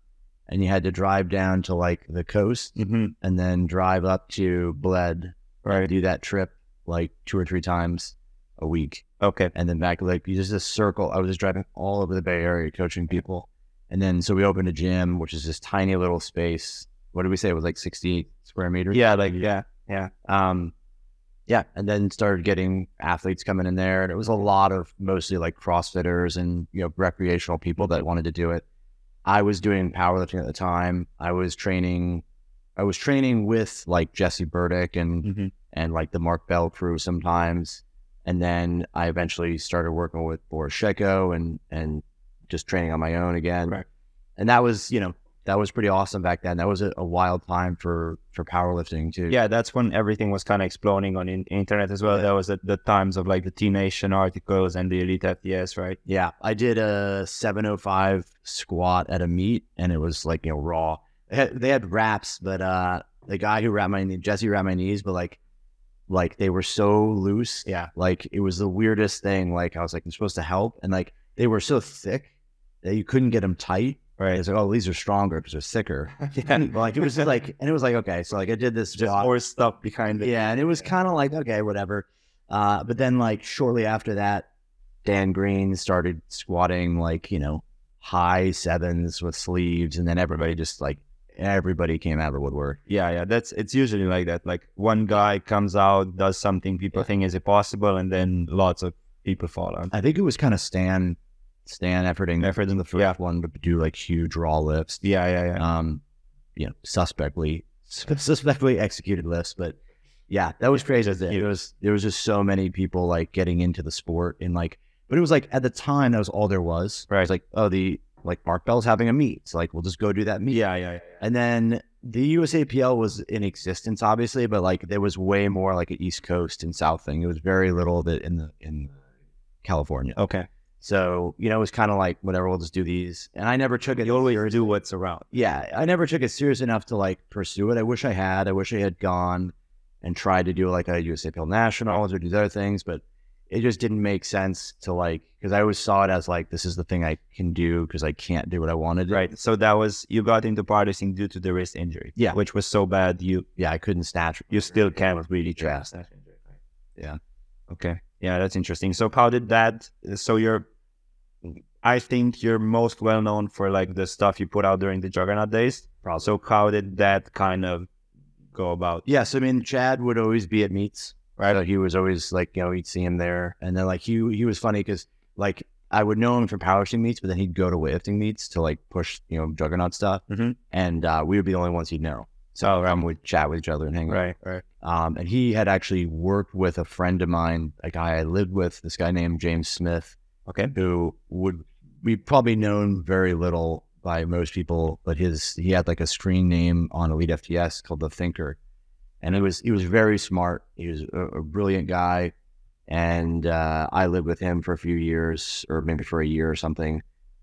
Speaker 2: and you had to drive down to like the coast
Speaker 1: hmm
Speaker 2: and then drive up to Bled.
Speaker 1: Right.
Speaker 2: Do that trip like two or three times a week.
Speaker 1: Okay.
Speaker 2: and then back like just a circle. I was just driving all over the Bay Area coaching people, and then so we opened a gym, which is this tiny little space. What did we say? It was like sixty square meters.
Speaker 1: Yeah, like yeah,
Speaker 2: Um, yeah, and then started getting athletes coming in there, and it was a lot of mostly like CrossFitters and you know recreational people that wanted to do it. I was doing powerlifting at the time. I was training. I was training with like Jesse Burdick and
Speaker 1: Mhm.
Speaker 2: and like the Mark Bell crew sometimes. And then I eventually started working with Boris Sheko and and just training on my own again.
Speaker 1: Right.
Speaker 2: And that was you know that was pretty awesome back then. That was a, a wild time for for powerlifting too.
Speaker 1: yeah. That's when everything was kind of exploding on in- internet as well. That was at the times of like the T Nation articles and the Elite FTS, right?
Speaker 2: Yeah, I did a 705 squat at a meet, and it was like you know raw. They had, they had wraps, but uh, the guy who wrapped my knee, Jesse wrapped my knees, but like, like they were so loose.
Speaker 1: Yeah.
Speaker 2: like it was the weirdest thing. Like I was like, I'm supposed to help, and like they were so thick that you couldn't get them tight.
Speaker 1: Right.
Speaker 2: It's like, oh, these are stronger because they're thicker.
Speaker 1: yeah.
Speaker 2: like it was just like, and it was like, okay, so like I did this
Speaker 1: Just
Speaker 2: squat.
Speaker 1: more stuff behind it.
Speaker 2: Yeah, and it was kind of like okay, whatever. Uh, but then like shortly after that, Dan Green started squatting like you know high sevens with sleeves, and then everybody just like everybody came out of the woodwork.
Speaker 1: Yeah, yeah. That's it's usually like that. Like one guy comes out, does something people think is impossible, and then lots of people follow.
Speaker 2: I think it was kind of Stan Stan efforting
Speaker 1: Effort in the
Speaker 2: first
Speaker 1: yeah,
Speaker 2: one to do like huge raw lifts.
Speaker 1: yeah, yeah, yeah.
Speaker 2: Um, you know, suspectly suspectly executed lifts, but yeah, that was crazy. It was there was just so many people like getting into the sport and like, but it was like at the time that was all there was. It
Speaker 1: Right.
Speaker 2: was like oh the like Mark Bell's having a meet, so like we'll just go do that meet.
Speaker 1: yeah, yeah, yeah.
Speaker 2: And then the USAPL was in existence, obviously, but like there was way more like an East Coast and South thing. It was very little of it in the in California.
Speaker 1: Okay.
Speaker 2: So you know it was kind of like whatever, we'll just do these. And I never took it.
Speaker 1: You always do what's around.
Speaker 2: yeah, I never took it serious enough to like pursue it. I wish I had. I wish I had gone and tried to do like a USAPL Nationals or do other things, but it just didn't make sense to like because I always saw it as like this is the thing I can do because I can't do what I want to do.
Speaker 1: Right. So that was you got into powerlifting due to the wrist injury.
Speaker 2: Yeah.
Speaker 1: Which was so bad you
Speaker 2: Yeah, I couldn't snatch.
Speaker 1: you still can't really
Speaker 2: Yeah.
Speaker 1: trust that injury.
Speaker 2: Yeah.
Speaker 1: Okay. Yeah, that's interesting. So how did that so you're I think you're most well known for like the stuff you put out during the juggernaut days.
Speaker 2: Probably.
Speaker 1: So how did that kind of go about?
Speaker 2: Yes, I mean Chad would always be at meets, right? So he was always like, you know, you'd see him there, and then like he he was funny because like I would know him from powerlifting meets, but then he'd go to weightlifting meets to like push you know juggernaut stuff,
Speaker 1: Mhm.
Speaker 2: and uh, we would be the only ones he'd know. So
Speaker 1: Oh, right.
Speaker 2: um, we'd chat with each other and hang out.
Speaker 1: Right, right.
Speaker 2: Um, and he had actually worked with a friend of mine, a guy I lived with, this guy named James Smith,
Speaker 1: Okay.
Speaker 2: who would we probably known very little by most people, but his he had like a screen name on Elite FTS called the Thinker, and he was he was very smart. He was a, a brilliant guy, and uh, I lived with him for a few years, or maybe for a year or something.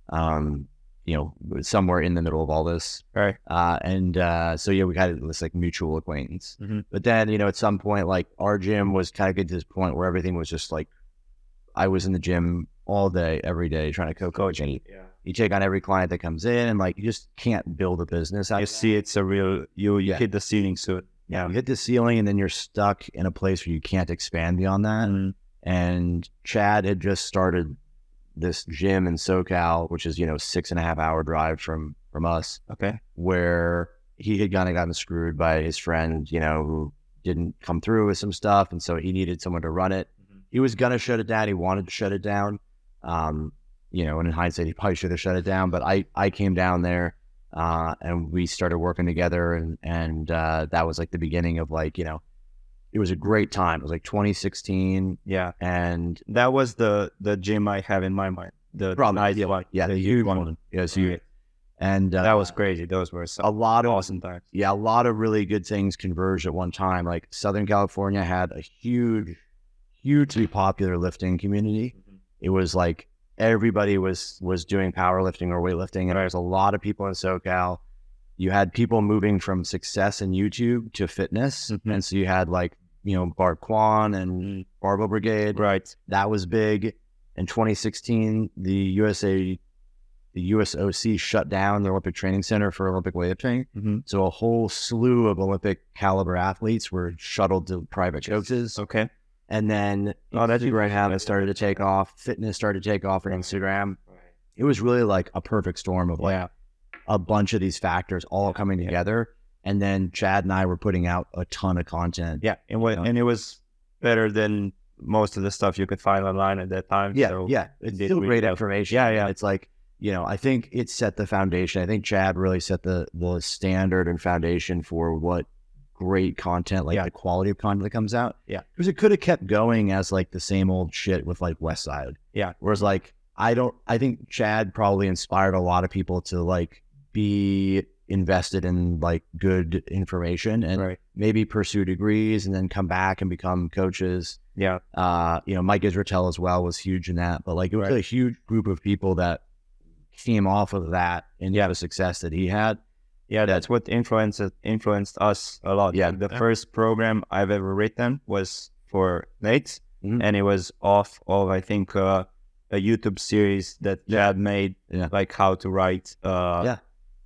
Speaker 2: Um, you know, somewhere in the middle of all this,
Speaker 1: Right.
Speaker 2: Uh, and uh, so yeah, we had this like mutual acquaintance.
Speaker 1: Mhm.
Speaker 2: But then you know, at some point, like our gym was kind of getting to this point where everything was just like I was in the gym all day, every day, trying to co-coach. And
Speaker 5: Yeah.
Speaker 2: you take on every client that comes in, and like you just can't build a business. out
Speaker 1: You
Speaker 2: of that.
Speaker 1: see, it's a real you. You
Speaker 2: Yeah.
Speaker 1: hit the ceiling soon.
Speaker 2: yeah. you hit the ceiling and then you're stuck in a place where you can't expand beyond that. And Chad had just started this gym in SoCal, which is, you know, six and a half hour drive from from us,
Speaker 1: Okay.
Speaker 2: where he had kind of gotten screwed by his friend, you know, who didn't come through with some stuff. And so he needed someone to run it.
Speaker 1: Mm-hmm.
Speaker 5: Mhm.
Speaker 2: He was gonna shut it down. He wanted to shut it down. Um, you know, and in hindsight, he probably should have shut it down. But I I came down there uh, and we started working together and and uh, that was like the beginning of like you know it was a great time it was like 2016
Speaker 1: Yeah,
Speaker 2: and
Speaker 1: that was the the gym I have in my mind. The
Speaker 2: Probably,
Speaker 1: nice
Speaker 2: yeah.
Speaker 1: one.
Speaker 2: yeah
Speaker 1: the
Speaker 2: huge
Speaker 1: huge one.
Speaker 2: yeah so you,
Speaker 1: Right.
Speaker 2: and uh,
Speaker 1: That was crazy. Those were some
Speaker 2: a lot of
Speaker 1: awesome times.
Speaker 2: yeah a lot of really good things converged at one time like Southern California had a huge hugely popular lifting community it was like everybody was was doing powerlifting or weightlifting and there was a lot of people in SoCal you had people moving from success in YouTube to fitness.
Speaker 1: Mhm.
Speaker 2: And so you had like, you know, Bart Kwan and Barbell Brigade.
Speaker 1: Right.
Speaker 2: That was big. In 2016, the USA, the USOC shut down the Olympic Training Center for Olympic weightlifting.
Speaker 1: Mhm.
Speaker 2: So a whole slew of Olympic caliber athletes were shuttled to private coaches.
Speaker 1: Okay.
Speaker 2: And then
Speaker 1: Oh, that's
Speaker 2: Instagram
Speaker 1: interesting.
Speaker 2: had started to take off. Fitness started to take off on Instagram.
Speaker 5: Right.
Speaker 2: It was really like a perfect storm of like
Speaker 1: Yeah.
Speaker 2: a bunch of these factors all coming together. And then Chad and I were putting out a ton of content.
Speaker 1: Yeah. And what,
Speaker 2: Yeah.
Speaker 1: and it was better than most of the stuff you could find online at that time.
Speaker 2: Yeah,
Speaker 1: So
Speaker 2: yeah. It's
Speaker 1: did
Speaker 2: still
Speaker 1: we
Speaker 2: great
Speaker 1: have-
Speaker 2: information.
Speaker 1: Yeah. Yeah.
Speaker 2: It's like, you know, I think it set the foundation. I think Chad really set the the standard and foundation for what great content, like
Speaker 1: Yeah.
Speaker 2: the quality of content that comes out.
Speaker 1: Yeah.
Speaker 2: Because it could have kept going as like the same old shit with like West Side.
Speaker 1: Yeah.
Speaker 2: Whereas like I don't I think Chad probably inspired a lot of people to like be invested in like good information and
Speaker 1: Right.
Speaker 2: maybe pursue degrees and then come back and become coaches.
Speaker 1: Yeah.
Speaker 2: Uh, you know, Mike Isratel as well was huge in that, but like it was
Speaker 1: Right.
Speaker 2: a huge group of people that came off of that and yeah, the success that he had.
Speaker 1: Yeah, that's what influenced influenced us a lot.
Speaker 2: Yeah.
Speaker 1: the first program I've ever written was for Nate,
Speaker 2: Mhm.
Speaker 1: and it was off of I think uh, a YouTube series that Jad made,
Speaker 2: Yeah.
Speaker 1: like how to write. Uh,
Speaker 2: Yeah.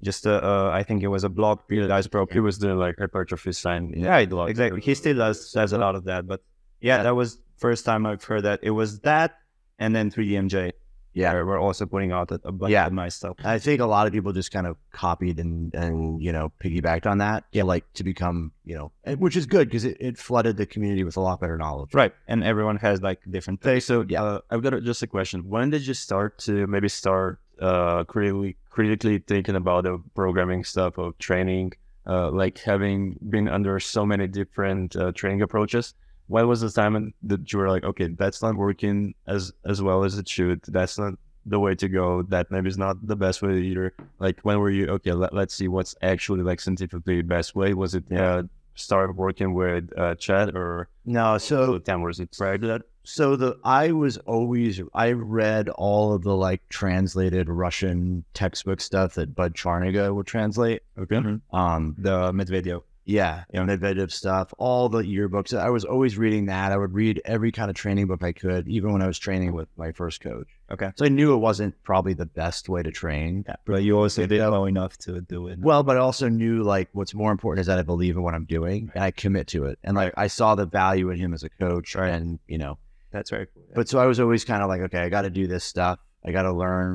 Speaker 1: just uh, uh, I think it was a blog. Really nice blog.
Speaker 4: He was doing like hypertrophy sign.
Speaker 1: Yeah, it was exactly. He still does does a lot of that, but yeah, that was first time I've heard that. It was that, and then 3DMJ.
Speaker 2: Yeah.
Speaker 1: were- were also putting out a a bunch
Speaker 2: Yeah.
Speaker 1: of my stuff.
Speaker 2: I think a lot of people just kind of copied and and you know piggybacked on that. Yeah, like to become you know, and- which is good because it, it flooded the community with a lot better knowledge.
Speaker 1: Right, and everyone has like different.
Speaker 4: Okay, so
Speaker 2: Yeah.
Speaker 4: uh, I've got a- just a question. When did you start to maybe start uh, critically critically thinking about the programming stuff of training, uh, like having been under so many different uh, training approaches? When was the time that you were like, okay, that's not working as as well as it should. That's not the way to go. That maybe is not the best way either. Like, when were you okay? Let, let's see what's actually like scientifically best way. Was it uh, start working with uh, Chad or
Speaker 2: No, so
Speaker 4: the time was it prior to that?
Speaker 2: so the I was always I read all of the like translated Russian textbook stuff that Bud Charniga would translate.
Speaker 1: Okay.
Speaker 2: Um,
Speaker 1: The Medvedev.
Speaker 2: yeah,
Speaker 1: Yeah.
Speaker 2: Medvedev stuff, all the yearbooks. I was always reading that. I would read every kind of training book I could, even when I was training with my first coach.
Speaker 1: Okay.
Speaker 2: so I knew it wasn't probably the best way to train.
Speaker 1: Yeah, but you also didn't know enough to do it.
Speaker 2: Well, but I also knew like what's more important is that I believe in what I'm doing and I commit to it. And like I saw the value in him as a coach,
Speaker 1: Right.
Speaker 2: and you know,
Speaker 1: That's very cool.
Speaker 2: But so I was always kind of like, okay, I got to do this stuff. I got to learn.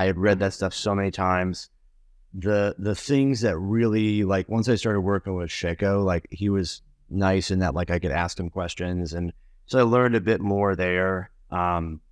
Speaker 2: I had
Speaker 1: Mm-hmm.
Speaker 2: read that stuff so many times. The the things that really like once I started working with Sheko, like he was nice in that like I could ask him questions, and so I learned a bit more there. Um,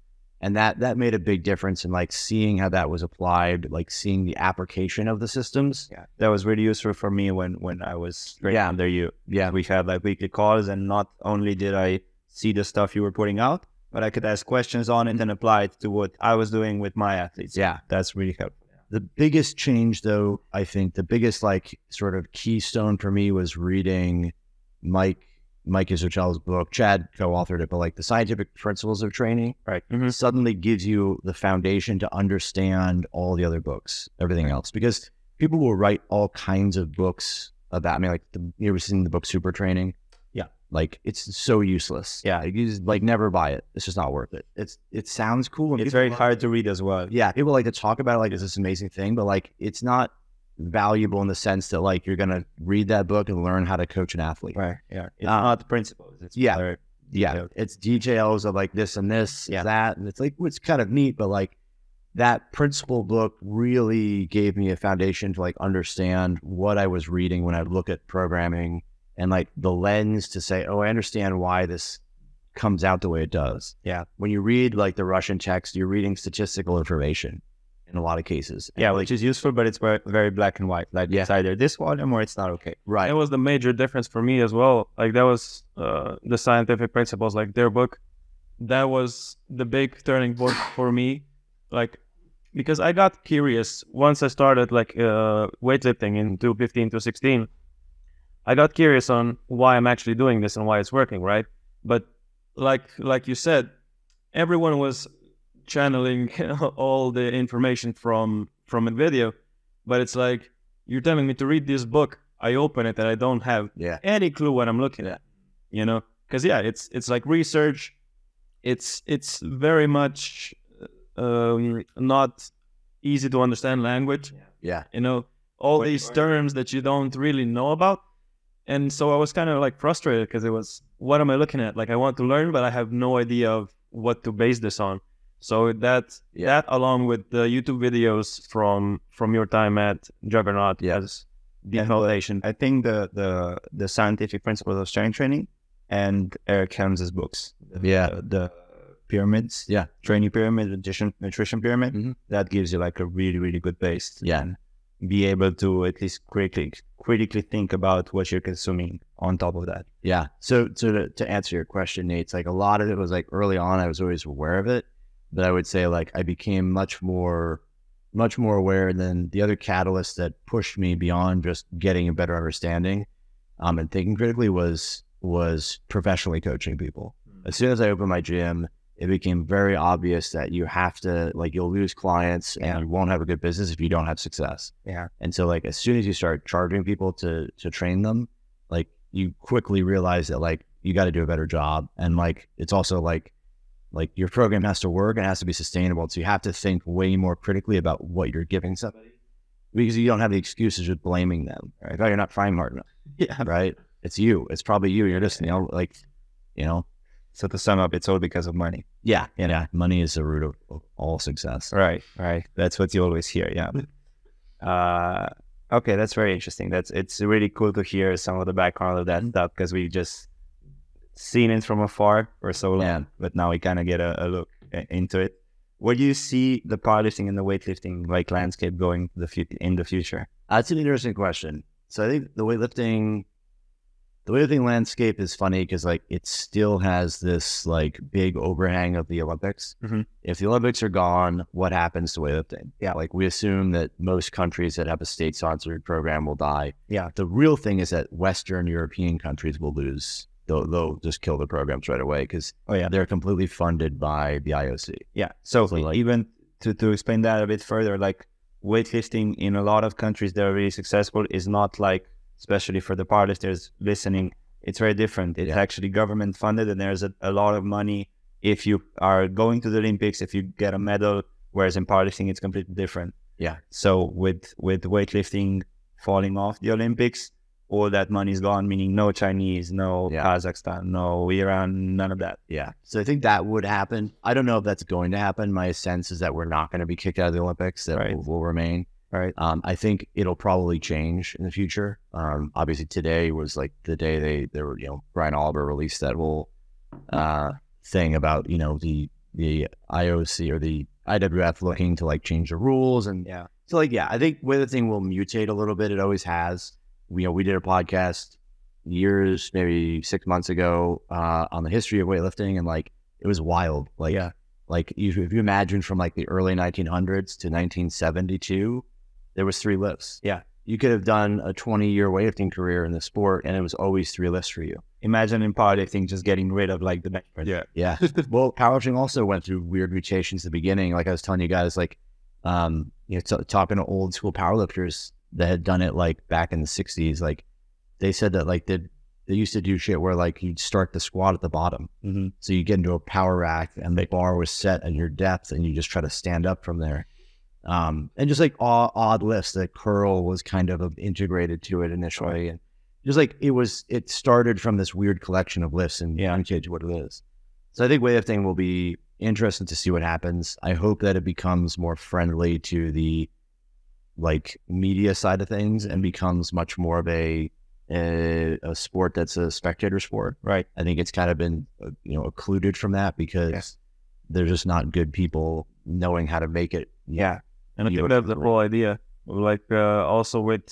Speaker 2: and that that made a big difference in like seeing how that was applied, like seeing the application of the systems.
Speaker 1: yeah, that was really useful for me when when I was training
Speaker 2: Yeah.
Speaker 1: under you.
Speaker 2: Yeah,
Speaker 1: We had like weekly calls, and not only did I see the stuff you were putting out, but I could ask questions on it and apply it to what I was doing with my athletes.
Speaker 2: yeah.
Speaker 1: that's really helpful.
Speaker 2: The biggest change, though, I think the biggest like sort of keystone for me was reading Mike Mike Isocel's book. Chad co-authored it, but like the scientific principles of training,
Speaker 1: Right.
Speaker 4: Mhm.
Speaker 2: Suddenly gives you the foundation to understand all the other books, everything else, because people will write all kinds of books about. I mean, like the, you ever seen the book Super Training?
Speaker 1: Yeah.
Speaker 2: Like it's so useless.
Speaker 1: Yeah.
Speaker 2: Like, you just, like never buy it. It's just not worth it. It's it sounds cool. and
Speaker 1: It's
Speaker 2: people
Speaker 1: very
Speaker 2: love
Speaker 1: hard to read as well.
Speaker 2: yeah, people like to talk about it like it's this amazing thing, but like it's not valuable in the sense that like you're gonna read that book and learn how to coach an athlete.
Speaker 1: Right. Yeah. It's
Speaker 2: Uh,
Speaker 1: not principles. It's
Speaker 2: yeah.
Speaker 1: very-
Speaker 2: Yeah,
Speaker 1: Yeah.
Speaker 2: it's details of like this and this,
Speaker 1: Yeah.
Speaker 2: that, and it's like it's kind of neat, but like that principle book really gave me a foundation to like understand what I was reading when I look at programming and like the lens to say, oh, I understand why this comes out the way it does.
Speaker 1: Yeah.
Speaker 2: when you read like the Russian text, you're reading statistical information in a lot of cases.
Speaker 1: yeah, which is useful, but it's very, very black and white. Like
Speaker 2: Yeah.
Speaker 1: it's either this volume or it's not okay.
Speaker 2: right.
Speaker 4: That was the major difference for me as well. Like that was uh, the scientific principles, like their book. That was the big turning point for me. Like because I got curious once I started like uh, weightlifting in 215 to 16. I got curious on why I'm actually doing this and why it's working, right? But like like you said, everyone was channeling all the information from from NVIDIA, but it's like you're telling me to read this book. I open it and I don't have
Speaker 2: Yeah.
Speaker 4: any clue what I'm looking at, you know? Because yeah, it's it's like research. It's it's very much um, not easy to understand language.
Speaker 2: Yeah.
Speaker 4: You know, all
Speaker 1: What-
Speaker 4: these terms that you don't really know about. And so I was kind of like frustrated because it was, what am I looking at? Like I want to learn, but I have no idea of what to base this on. So that
Speaker 2: Yeah.
Speaker 4: that along with the YouTube videos from from your time at Juggernaut
Speaker 2: Yeah.
Speaker 4: as the foundation.
Speaker 1: I think the the the scientific principles of strength training and Eric Helms' books. The-
Speaker 2: Yeah.
Speaker 1: The, the pyramids.
Speaker 2: Yeah.
Speaker 1: Training pyramid, nutrition nutrition pyramid.
Speaker 2: Mhm.
Speaker 1: That gives you like a really, really good base. to
Speaker 2: Yeah.
Speaker 1: then Be able to at least critically critically think about what you're consuming on top of that.
Speaker 2: Yeah. So, so to, to answer your question, Nate, it's like a lot of it was like early on, I was always aware of it, but I would say like I became much more, much more aware. And then the other catalyst that pushed me beyond just getting a better understanding, um, and thinking critically was was professionally coaching people. As soon as I opened my gym, it became very obvious that you have to like you'll lose clients and you won't have a good business if you don't have success.
Speaker 1: Yeah.
Speaker 2: And so like as soon as you start charging people to to train them, like you quickly realize that like you got to do a better job and like it's also like like your program has to work and it has to be sustainable so you have to think way more critically about what you're giving somebody because you don't have the excuses of blaming them right oh you're not trying hard enough
Speaker 1: Yeah.
Speaker 2: right it's you it's probably you you're just you know like you know
Speaker 1: So to sum up, it's all because of money.
Speaker 2: yeah yeah, money is the root of, of all success
Speaker 1: Right, right. That's what you always hear. Yeah. Uh, okay, that's very interesting. That's it's really cool to hear some of the background of that stuff because we've just seen it from afar for so long,
Speaker 2: Yeah.
Speaker 1: but now we kind of get a, a look i- into it. Where do you see the powerlifting and the weightlifting like landscape going the fu- in the future?
Speaker 2: That's Uh, an interesting question. So I think the weightlifting, the weightlifting landscape is funny because like it still has this like big overhang of the Olympics.
Speaker 1: Mhm.
Speaker 2: If the Olympics are gone, what happens to weightlifting?
Speaker 1: Yeah.
Speaker 2: like we assume that most countries that have a state-sponsored program will die.
Speaker 1: Yeah.
Speaker 2: the real thing is that Western European countries will lose. They'll, they'll just kill the programs right away because
Speaker 1: Oh yeah,
Speaker 2: they're completely funded by the IOC.
Speaker 1: yeah. So,
Speaker 2: So, like-
Speaker 1: even to to explain that a bit further, like weightlifting in a lot of countries that are really successful is not like, especially for the powerlifters listening, it's very different. It's
Speaker 2: Yeah.
Speaker 1: actually government funded, and there's a, a lot of money if you are going to the Olympics, if you get a medal. Whereas in powerlifting, it's completely different.
Speaker 2: Yeah.
Speaker 1: So with with weightlifting falling off the Olympics, all that money is gone. Meaning no Chinese, no
Speaker 2: Yeah.
Speaker 1: Kazakhstan, no Iran, none of that.
Speaker 2: Yeah. So I think that would happen. I don't know if that's going to happen. My sense is that we're not going to be kicked out of the Olympics, that
Speaker 1: Right.
Speaker 2: will will remain.
Speaker 1: Right.
Speaker 2: Um, I think it'll probably change in the future. Um, obviously, today was like the day they, they were, you know, Brian Oliver released that whole uh, thing about, you know, the, the IOC or the IWF looking to like change the rules. And
Speaker 1: Yeah.
Speaker 2: so, like, yeah, I think where the thing will mutate a little bit, it always has. We, you know, we did a podcast years, maybe six months ago, uh, on the history of weightlifting, and like it was wild. Like,
Speaker 1: Yeah.
Speaker 2: like if if you imagine from like the early 1900s to 1972, there was three lifts.
Speaker 1: Yeah.
Speaker 2: you could have done a 20 year weightlifting career in the sport, and it was always three lifts for you.
Speaker 1: Imagine in powerlifting just getting rid of like the bench press.
Speaker 3: Yeah.
Speaker 2: Yeah. well, powerlifting also went through weird mutations at the beginning. Like I was telling you guys, like, um, you know, t- talking to old school powerlifters that had done it like back in the 60s, like they said that like the they used to do shit where like you'd start the squat at the bottom.
Speaker 1: Mhm.
Speaker 2: So you get into a power rack and the bar was set at your depth and you just try to stand up from there. Um, and just like odd, odd lifts, the curl was kind of integrated to it initially. And just like it was, it started from this weird collection of lifts and
Speaker 1: Yeah.
Speaker 2: yeah. to what it is. So I think weightlifting will be interesting to see what happens. I hope that it becomes more friendly to the like media side of things and becomes much more of a a, a sport that's a spectator sport.
Speaker 1: Right.
Speaker 2: I think it's kind of been uh, you know occluded from that because
Speaker 1: Yes.
Speaker 2: they're just not good people knowing how to make it.
Speaker 1: Yeah.
Speaker 4: And I
Speaker 2: Yeah.
Speaker 4: think that's the whole idea. Like uh, also with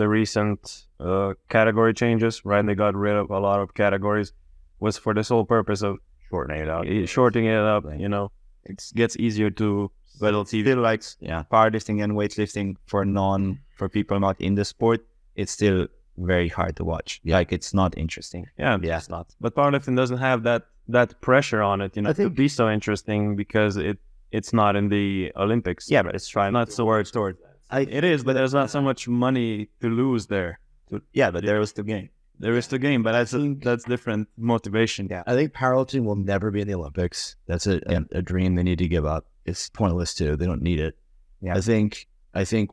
Speaker 4: the recent uh, category changes, right? They got rid of a lot of categories. Was for the sole purpose of
Speaker 2: shortening it out.
Speaker 4: uh, shorting it up.
Speaker 2: Right.
Speaker 4: You know, it gets easier to
Speaker 1: But it's still like
Speaker 2: Yeah.
Speaker 1: powerlifting and weightlifting for non for people not in the sport, it's still very hard to watch. Like it's not interesting.
Speaker 4: yeah.
Speaker 2: Yeah.
Speaker 1: It's not.
Speaker 4: But powerlifting doesn't have that that pressure on it. You know,
Speaker 2: I
Speaker 4: to
Speaker 2: think-
Speaker 4: be so interesting because it it's not in the Olympics.
Speaker 1: Yeah, but it's trying.
Speaker 4: not so where it's toward.
Speaker 2: I-
Speaker 4: it is, but there's not so much money to lose there.
Speaker 1: Yeah, but there was the game.
Speaker 4: There is the game, but that's a, that's different motivation.
Speaker 1: Yeah.
Speaker 2: I think powerlifting will never be in the Olympics. That's a, a, a dream they need to give up. It's pointless too. They don't need it.
Speaker 1: Yeah.
Speaker 2: I think I think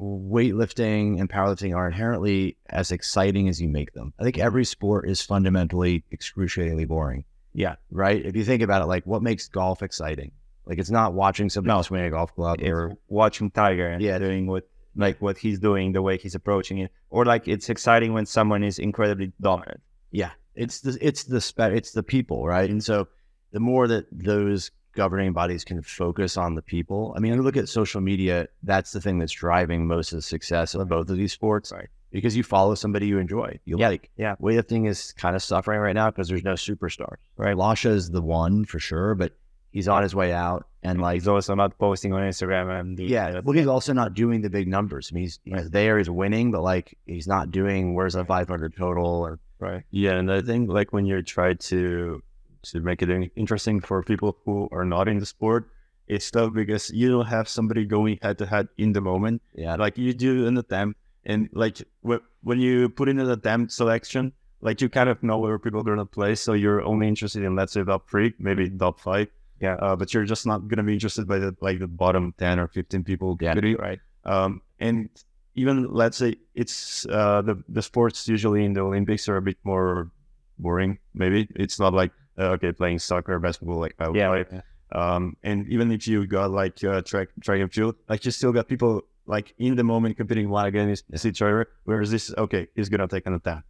Speaker 2: weightlifting and powerlifting are inherently as exciting as you make them. I think every sport is fundamentally excruciatingly boring.
Speaker 1: Yeah.
Speaker 2: Right? If you think about it, like what makes golf exciting? Like it's not watching somebody swing a golf club.
Speaker 1: Or watching Tiger and
Speaker 2: Yeah.
Speaker 1: doing what like what he's doing, the way he's approaching it, or like it's exciting when someone is incredibly dominant.
Speaker 2: Yeah, it's the it's the spe- it's the people, right? And so the more that those governing bodies can focus on the people, I mean, look at social media. That's the thing that's driving most of the success of both of these sports,
Speaker 1: Right.
Speaker 2: Because you follow somebody you enjoy, you
Speaker 1: Yeah,
Speaker 2: like.
Speaker 1: yeah.
Speaker 2: weightlifting is kind of suffering right now because there's no superstars, right? Lasha is the one for sure, but he's on his way out, and like
Speaker 1: He's also not posting on Instagram and doing
Speaker 2: yeah, well, he's also not doing the big numbers. I mean, he's, he's there, he's winning, but like he's not doing where's the 500 total or
Speaker 3: Yeah, and I think like when you try to to make it in- interesting for people who are not in the sport, it's tough because you don't have somebody going head to head in the moment.
Speaker 2: yeah,
Speaker 3: Like you do an attempt, and like wh- when you put in an attempt selection, like you kind of know where people are gonna play, so you're only interested in let's say top three, maybe top five.
Speaker 1: Yeah.
Speaker 3: uh, but you're just not gonna be interested by the like the bottom ten or fifteen people.
Speaker 2: Yeah.
Speaker 3: competing.
Speaker 1: right.
Speaker 3: Um, and even let's say it's uh, the the sports usually in the Olympics are a bit more boring. Maybe it's not like uh, okay playing soccer, basketball, like I would
Speaker 1: Yeah,
Speaker 3: like. Um, and even if you got like uh, track track and field, like you still got people like in the moment competing one against each other. Whereas this, okay, he's gonna take an attempt.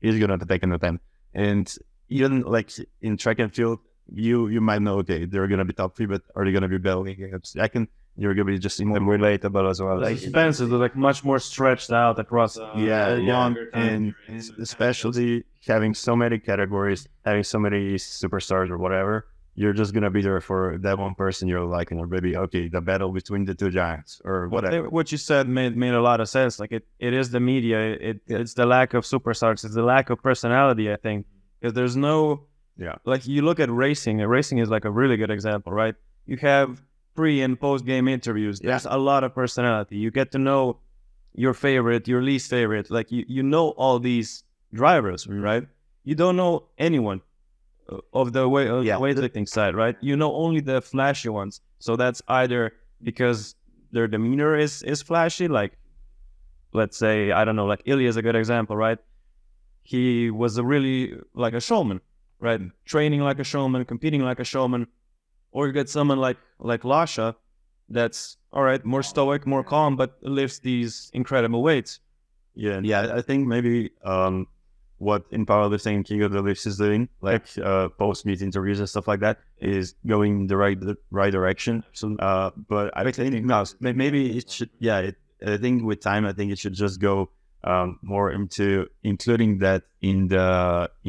Speaker 3: He's gonna take an attempt. And even like in track and field, you you might know okay they're gonna be top three, but are they gonna be battling against second? You're gonna be just in the
Speaker 1: Relatable as well.
Speaker 3: Like-
Speaker 4: Expenses are like much more stretched out across. Uh,
Speaker 3: yeah,
Speaker 4: a
Speaker 3: long
Speaker 4: longer time
Speaker 3: and
Speaker 4: period.
Speaker 3: especially having so many categories, having so many superstars or whatever, you're just gonna be there for that one person you're liking, or maybe okay, the battle between the two giants or
Speaker 4: What,
Speaker 3: whatever.
Speaker 4: they- what you said made, made a lot of sense. Like it, it is the media. It it's the lack of superstars. It's the lack of personality. I think because there's no
Speaker 3: Yeah.
Speaker 4: Like you look at racing. and Racing is like a really good example, right? You have pre and post game interviews. There's a lot of personality. You get to know your favorite, your least favorite. Like you you know all these drivers, right? You don't know anyone uh, of the way of
Speaker 2: Yeah.
Speaker 4: the weightlifting side, right? You know only the flashy ones. So that's either because their demeanor is is flashy, like let's say I don't know, like Ilya is a good example, right? He was a really like a showman, right? Training like a showman, competing like a showman, or you get someone like like Lasha, that's all right, more stoic, more calm, but lifts these incredible weights.
Speaker 3: Yeah, yeah. I think maybe um, what in powerlifting King of the Lifts is doing, like uh, post meet interviews and stuff like that, is going in the right the right direction. So, uh, but I think now may- maybe it should. Yeah, it, I think with time, I think it should just go um, more into including that in the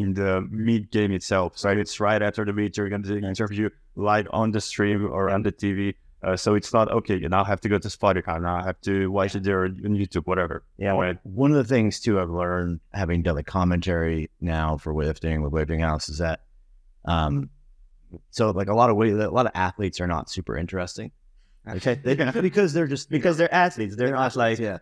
Speaker 3: in the meet game itself. So it's right after the meet, you're going to do an interview live on the stream or on the TV. Uh, so it's not okay. You now have to go to Spotify. Now I have to watch it there on YouTube, whatever.
Speaker 1: Yeah,
Speaker 3: Right.
Speaker 2: one of the things too I've learned having done the commentary now for weightlifting with Weightlifting House is that, um, so like a lot of weight, a lot of athletes are not super interesting. Okay, they, because they're just
Speaker 1: because they're athletes. They're not like
Speaker 2: yeah.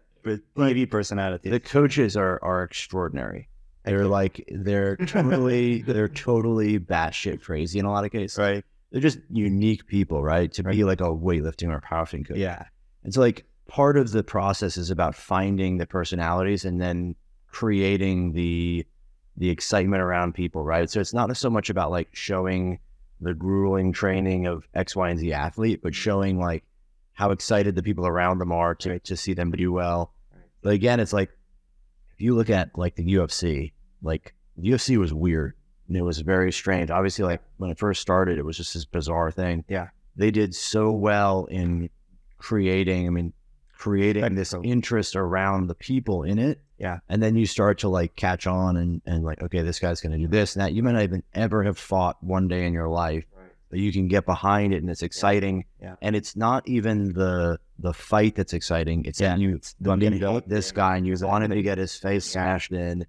Speaker 1: TV personalities.
Speaker 2: The coaches are are extraordinary, They're like they're totally they're totally batshit crazy in a lot of cases.
Speaker 1: Right.
Speaker 2: They're just unique people, right? To be like a weightlifting or powerlifting coach.
Speaker 1: Yeah.
Speaker 2: And so like part of the process is about finding the personalities and then creating the the excitement around people, right? So it's not so much about like showing the grueling training of X, Y, and Z athlete, but showing like how excited the people around them are to, to see them do well. But again, it's like if you look at like the UFC, like the UFC was weird and it was very strange. Obviously, like when it first started, it was just this bizarre thing.
Speaker 1: Yeah.
Speaker 2: They did so well in creating, I mean, creating
Speaker 1: Like,
Speaker 2: this
Speaker 1: so-
Speaker 2: interest around the people in it.
Speaker 1: Yeah.
Speaker 2: And then you start to like catch on and, and like, okay, this guy's going to do this and that. You might not even ever have fought one day in your life, but you can get behind it and it's exciting.
Speaker 1: Yeah.
Speaker 2: And it's not even the the fight that's exciting. It's that you,
Speaker 1: I'm
Speaker 2: you
Speaker 1: getting
Speaker 2: hate
Speaker 1: hit.
Speaker 2: this guy and you want him to get his face smashed in,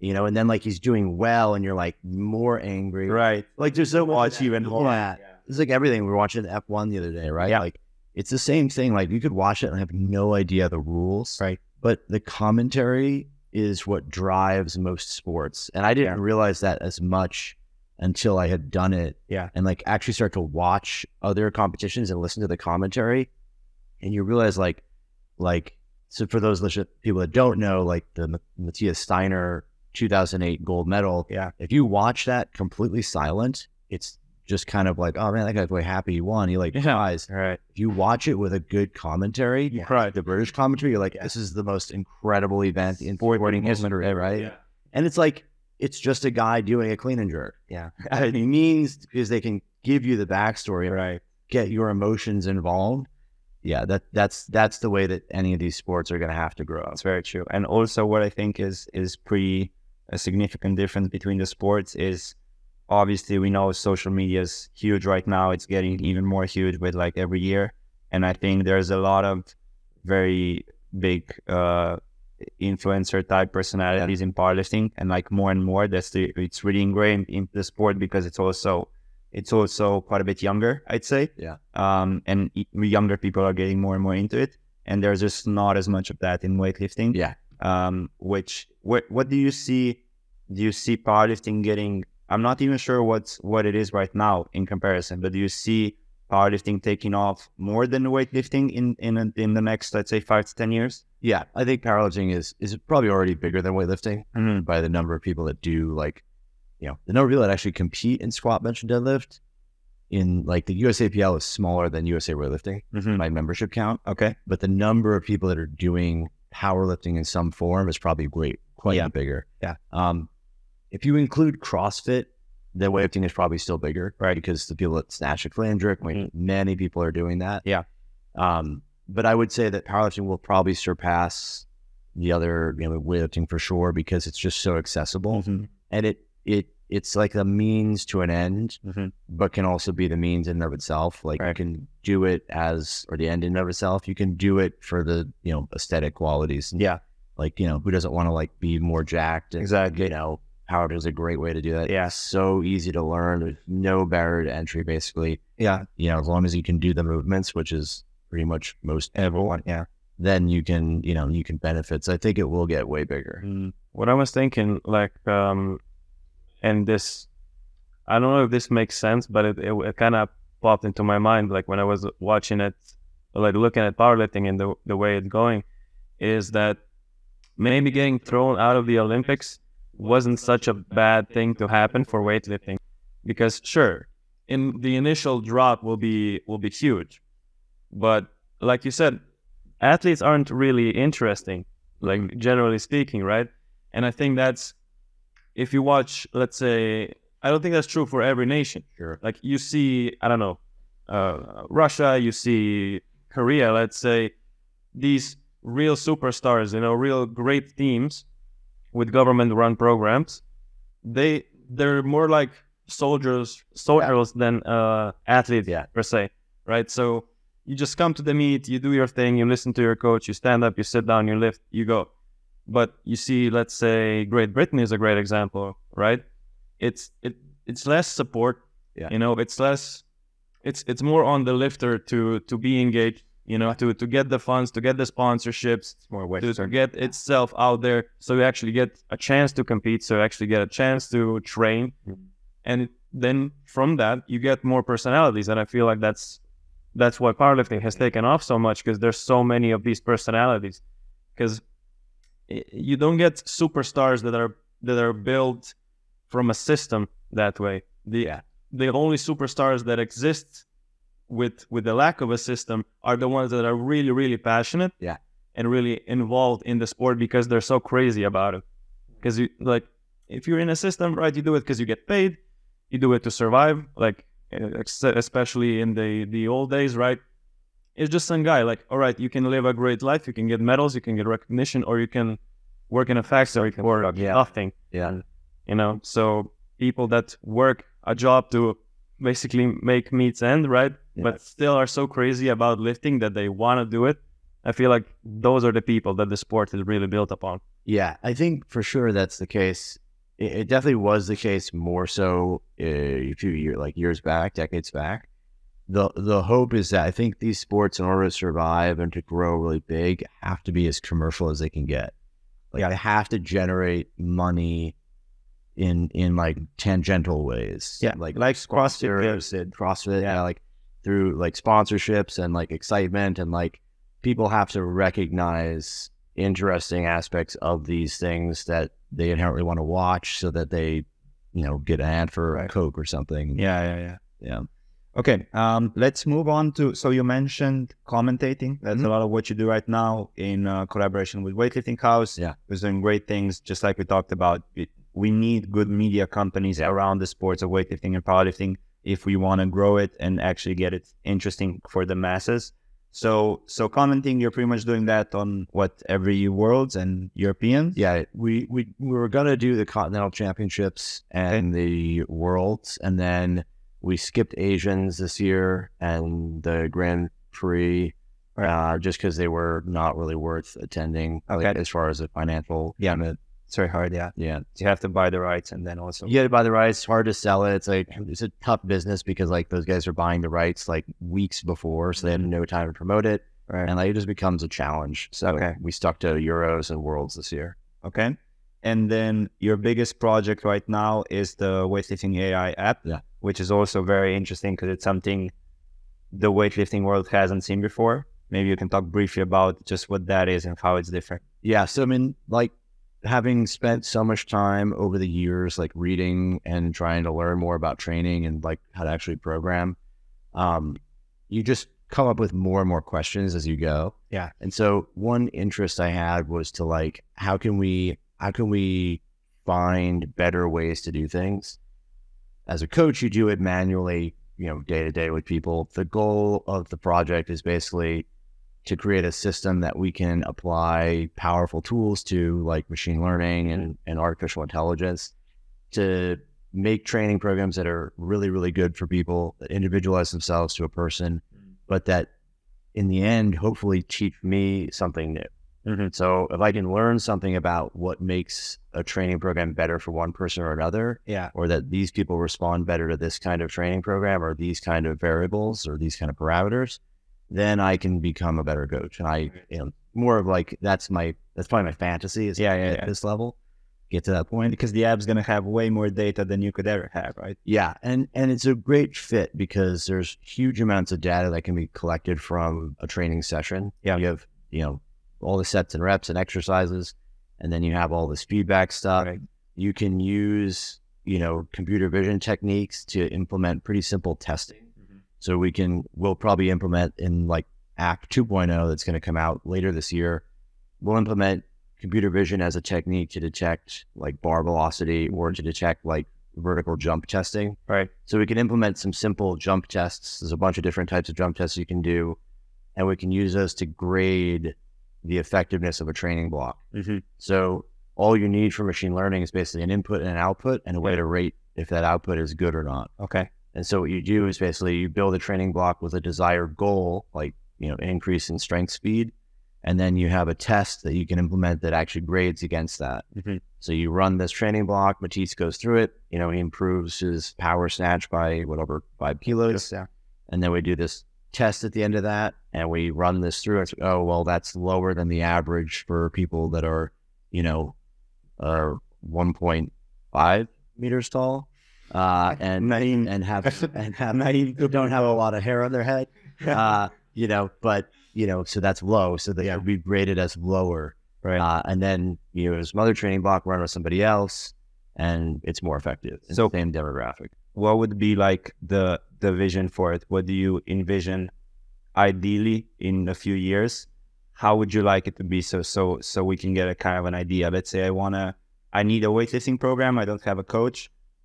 Speaker 2: you know, and then like he's doing well and you're like more angry.
Speaker 1: Right.
Speaker 2: Like there's so much
Speaker 1: Watch even more.
Speaker 2: Yeah. It's like everything. We were watching F1 the other day, right?
Speaker 1: Yeah.
Speaker 2: Like it's the same thing. Like you could watch it and have no idea the rules.
Speaker 1: Right.
Speaker 2: But the commentary is what drives most sports. And I didn't realize that as much until I had done it.
Speaker 1: Yeah.
Speaker 2: And like actually start to watch other competitions and listen to the commentary. And you realize like like so for those lis- people that don't know, like the Ma- Matthias Steiner 2008 gold medal.
Speaker 1: Yeah.
Speaker 2: If you watch that completely silent, it's just kind of like, oh man, that guy's way happy he won. He like
Speaker 4: Yeah.
Speaker 2: cries.
Speaker 4: Right.
Speaker 2: If you watch it with a good commentary,
Speaker 1: Yeah.
Speaker 2: like the British commentary, you're like,
Speaker 1: Yeah.
Speaker 2: this is the most incredible event in sporting history, right?
Speaker 1: Yeah.
Speaker 2: And it's like, it's just a guy doing a clean and jerk.
Speaker 1: Yeah.
Speaker 2: it means because they can give you the backstory and
Speaker 1: Right.
Speaker 2: get your emotions involved. Yeah, that that's that's the way that any of these sports are going to have to grow up.
Speaker 1: That's very true. And also, what I think is is pretty a significant difference between the sports is obviously we know social media is huge right now. It's getting even more huge with like every year, and I think there's a lot of very big uh, influencer type personalities in powerlifting, and like more and more that's the it's really ingrained into the sport because it's also it's also quite a bit younger, I'd say.
Speaker 2: Yeah.
Speaker 1: Um, and y- younger people are getting more and more into it and there's just not as much of that in weightlifting.
Speaker 2: Yeah.
Speaker 1: Um, which what what do you see? Do you see powerlifting getting? I'm not even sure what's what it is right now in comparison, but do you see powerlifting taking off more than weightlifting in in in the next let's say five to ten years?
Speaker 2: Yeah, I think powerlifting is is probably already bigger than weightlifting.
Speaker 1: Mm-hmm.
Speaker 2: by the number of people that do like, you know, the number of people that actually compete in squat, bench, and deadlift. In like the USAPL is smaller than USA Weightlifting
Speaker 1: Mm-hmm.
Speaker 2: by membership count,
Speaker 1: Okay.
Speaker 2: but the number of people that are doing powerlifting in some form is probably great, quite
Speaker 1: Yeah.
Speaker 2: bigger.
Speaker 1: Yeah.
Speaker 2: Um, if you include CrossFit, then weightlifting is probably still bigger, right? Because the people that snatch a flandrick,
Speaker 1: Mm-hmm.
Speaker 2: many people are doing that.
Speaker 1: Yeah.
Speaker 2: Um, but I would say that powerlifting will probably surpass the other, you know, weightlifting for sure because it's just so accessible
Speaker 1: Mhm.
Speaker 2: and it it it's like a means to an end,
Speaker 1: Mhm.
Speaker 2: but can also be the means in and of itself. Like you
Speaker 1: Right.
Speaker 2: can do it as or the end in and of itself. You can do it for the you know aesthetic qualities.
Speaker 1: Yeah.
Speaker 2: like you know who doesn't want to like be more jacked? And,
Speaker 1: Exactly.
Speaker 2: You know, power is a great way to do that.
Speaker 1: Yeah.
Speaker 2: It's so easy to learn. There's no barrier to entry, basically.
Speaker 1: Yeah.
Speaker 2: You know, as long as you can do the movements, which is pretty much most everyone,
Speaker 1: Yeah.
Speaker 2: then you can you know you can benefit. So I think it will get way bigger.
Speaker 4: what I was thinking, like, um, and this, I don't know if this makes sense, but it, it, it kind of popped into my mind, like when I was watching it, like looking at powerlifting and the the way it's going, is that maybe getting thrown out of the Olympics wasn't such a bad thing to happen for weightlifting, because sure, in the initial drop will be will be huge, but like you said, athletes aren't really interesting, like generally speaking, right? And I think that's if you watch, let's say, I don't think that's true for every nation.
Speaker 2: Sure.
Speaker 4: Like you see, I don't know, uh, Russia, you see Korea, let's say, these real superstars, you know, real great teams with government run programs, they they're more like soldiers soldiers than uh athletes
Speaker 2: Yeah.
Speaker 4: per se. Right. So you just come to the meet, you do your thing, you listen to your coach, you stand up, you sit down, you lift, you go. But you see, let's say Great Britain is a great example, right? It's it it's less support.
Speaker 2: Yeah.
Speaker 4: You know, it's less it's it's more on the lifter to to be engaged you know, to to get the funds, to get the sponsorships,
Speaker 3: more
Speaker 4: to,
Speaker 3: ways.
Speaker 4: to get itself out there so you actually get a chance to compete so you actually get a chance to train and then from that you get more personalities and i feel like that's that's why powerlifting has taken off so much because there's so many of these personalities because you don't get superstars that are that are built from a system that way the the only superstars that exist with with the lack of a system are the ones that are really really passionate
Speaker 2: Yeah.
Speaker 4: and really involved in the sport because they're so crazy about it because you like if you're in a system right you do it because you get paid you do it to survive like uh, ex- especially in the the old days right it's just some guy like all right you can live a great life you can get medals you can get recognition or you can work in a factory for
Speaker 2: yeah.
Speaker 4: nothing
Speaker 2: Yeah.
Speaker 4: you know so people that work a job to basically make meets end right
Speaker 2: Yeah.
Speaker 4: but still are so crazy about lifting that they want to do it i feel like those are the people that the sport is really built upon
Speaker 2: Yeah, I think for sure that's the case. It, it definitely was the case more so uh, a few year, like years back, decades back. The the hope is that I think these sports, in order to survive and to grow really big, have to be as commercial as they can get. Like they have to generate money in in like tangential ways.
Speaker 1: Yeah,
Speaker 2: like
Speaker 1: like CrossFit.
Speaker 2: CrossFit,
Speaker 1: players.
Speaker 2: said CrossFit, yeah, like through like sponsorships and like excitement and like people have to recognize interesting aspects of these things that they inherently want to watch so that they, you know, get an ad for a Coke or something.
Speaker 1: Yeah, yeah, yeah.
Speaker 2: Yeah.
Speaker 1: Okay, um, let's move on to. So you mentioned commentating. That's a lot of what you do right now in uh, collaboration with Weightlifting House.
Speaker 2: Yeah.
Speaker 1: who's doing great things. Just like we talked about, It- we need good media companies around the sports of weightlifting and powerlifting if we want to grow it and actually get it interesting for the masses. So, so commenting, you're pretty much doing that on what every worlds and Europeans.
Speaker 2: Yeah, we we, we were gonna do the Continental Championships and the Worlds, and then we skipped Asians this year and the Grand Prix, uh, just because they were not really worth attending like,
Speaker 1: Okay.
Speaker 2: as far as a financial.
Speaker 1: Yeah.
Speaker 2: commitment.
Speaker 1: it's very hard. Yeah,
Speaker 2: yeah.
Speaker 1: you have to buy the rights and then also.
Speaker 2: You get it by the rights. It's hard to sell it. It's like it's a tough business because like those guys are buying the rights like weeks before, so they had no time to promote it,
Speaker 1: Mm-hmm. Right.
Speaker 2: and like it just becomes a challenge. So
Speaker 1: Okay.
Speaker 2: we stuck to Euros and Worlds this year.
Speaker 1: Okay. And then your biggest project right now is the weightlifting AI app,
Speaker 2: Yeah.
Speaker 1: which is also very interesting because it's something the weightlifting world hasn't seen before. Maybe you can talk briefly about just what that is and how it's different.
Speaker 2: Yeah. So, I mean, like having spent so much time over the years, like reading and trying to learn more about training and like how to actually program, um, you just come up with more and more questions as you go.
Speaker 1: Yeah.
Speaker 2: And so, one interest I had was to like, how can we, how can we find better ways to do things? As a coach, you do it manually, you know, day to day with people. The goal of the project is basically to create a system that we can apply powerful tools to, like machine learning and, and artificial intelligence, to make training programs that are really, really good for people that individualize themselves to a person, but that in the end, hopefully teach me something new.
Speaker 1: Mhm.
Speaker 2: So if I can learn something about what makes a training program better for one person or another,
Speaker 1: Yeah.
Speaker 2: or that these people respond better to this kind of training program or these kind of variables or these kind of parameters, then I can become a better coach. And I am more of like that's my that's probably my fantasy is
Speaker 1: Yeah, yeah,
Speaker 2: at
Speaker 1: yeah.
Speaker 2: this level, get to that point.
Speaker 1: When, because the app's going to have way more data than you could ever have, right?
Speaker 2: Yeah, and and it's a great fit because there's huge amounts of data that can be collected from a training session.
Speaker 1: Yeah.
Speaker 2: you have you know all the sets and reps and exercises, and then you have all this feedback stuff.
Speaker 1: Right.
Speaker 2: You can use you know computer vision techniques to implement pretty simple testing. So we can we'll probably implement in like Act 2.0 that's going to come out later this year. We'll implement computer vision as a technique to detect like bar velocity or to detect like vertical jump testing.
Speaker 4: Right.
Speaker 2: So we can implement some simple jump tests. There's a bunch of different types of jump tests you can do, and we can use those to grade the effectiveness of a training block.
Speaker 1: Mhm.
Speaker 2: So all you need for machine learning is basically an input and an output and a way to rate if that output is good or not.
Speaker 1: Okay.
Speaker 2: And so what you do is basically you build a training block with a desired goal, like you know, increase in strength speed, and then you have a test that you can implement that actually grades against that.
Speaker 1: Mhm.
Speaker 2: So you run this training block. Matisse goes through it. You know, he improves his power snatch by whatever five kilos,
Speaker 1: yeah.
Speaker 2: and then we do this test at the end of that and we run this through. It's oh well, that's lower than the average for people that are you know are one point five meters tall uh, and
Speaker 1: Name.
Speaker 2: and have and have
Speaker 1: Naive.
Speaker 2: don't have a lot of hair on their head. Uh, you know, but you know, so that's low. So they would be rated as lower.
Speaker 1: Right.
Speaker 2: Uh, and then you know, there's another training block run with somebody else, and it's more effective. It's
Speaker 1: So-
Speaker 2: the same demographic.
Speaker 1: what would be like the the vision for it what do you envision ideally in a few years how would you like it to be so so so we can get a kind of an idea let's say i want to i need a weightlifting program i don't have a coach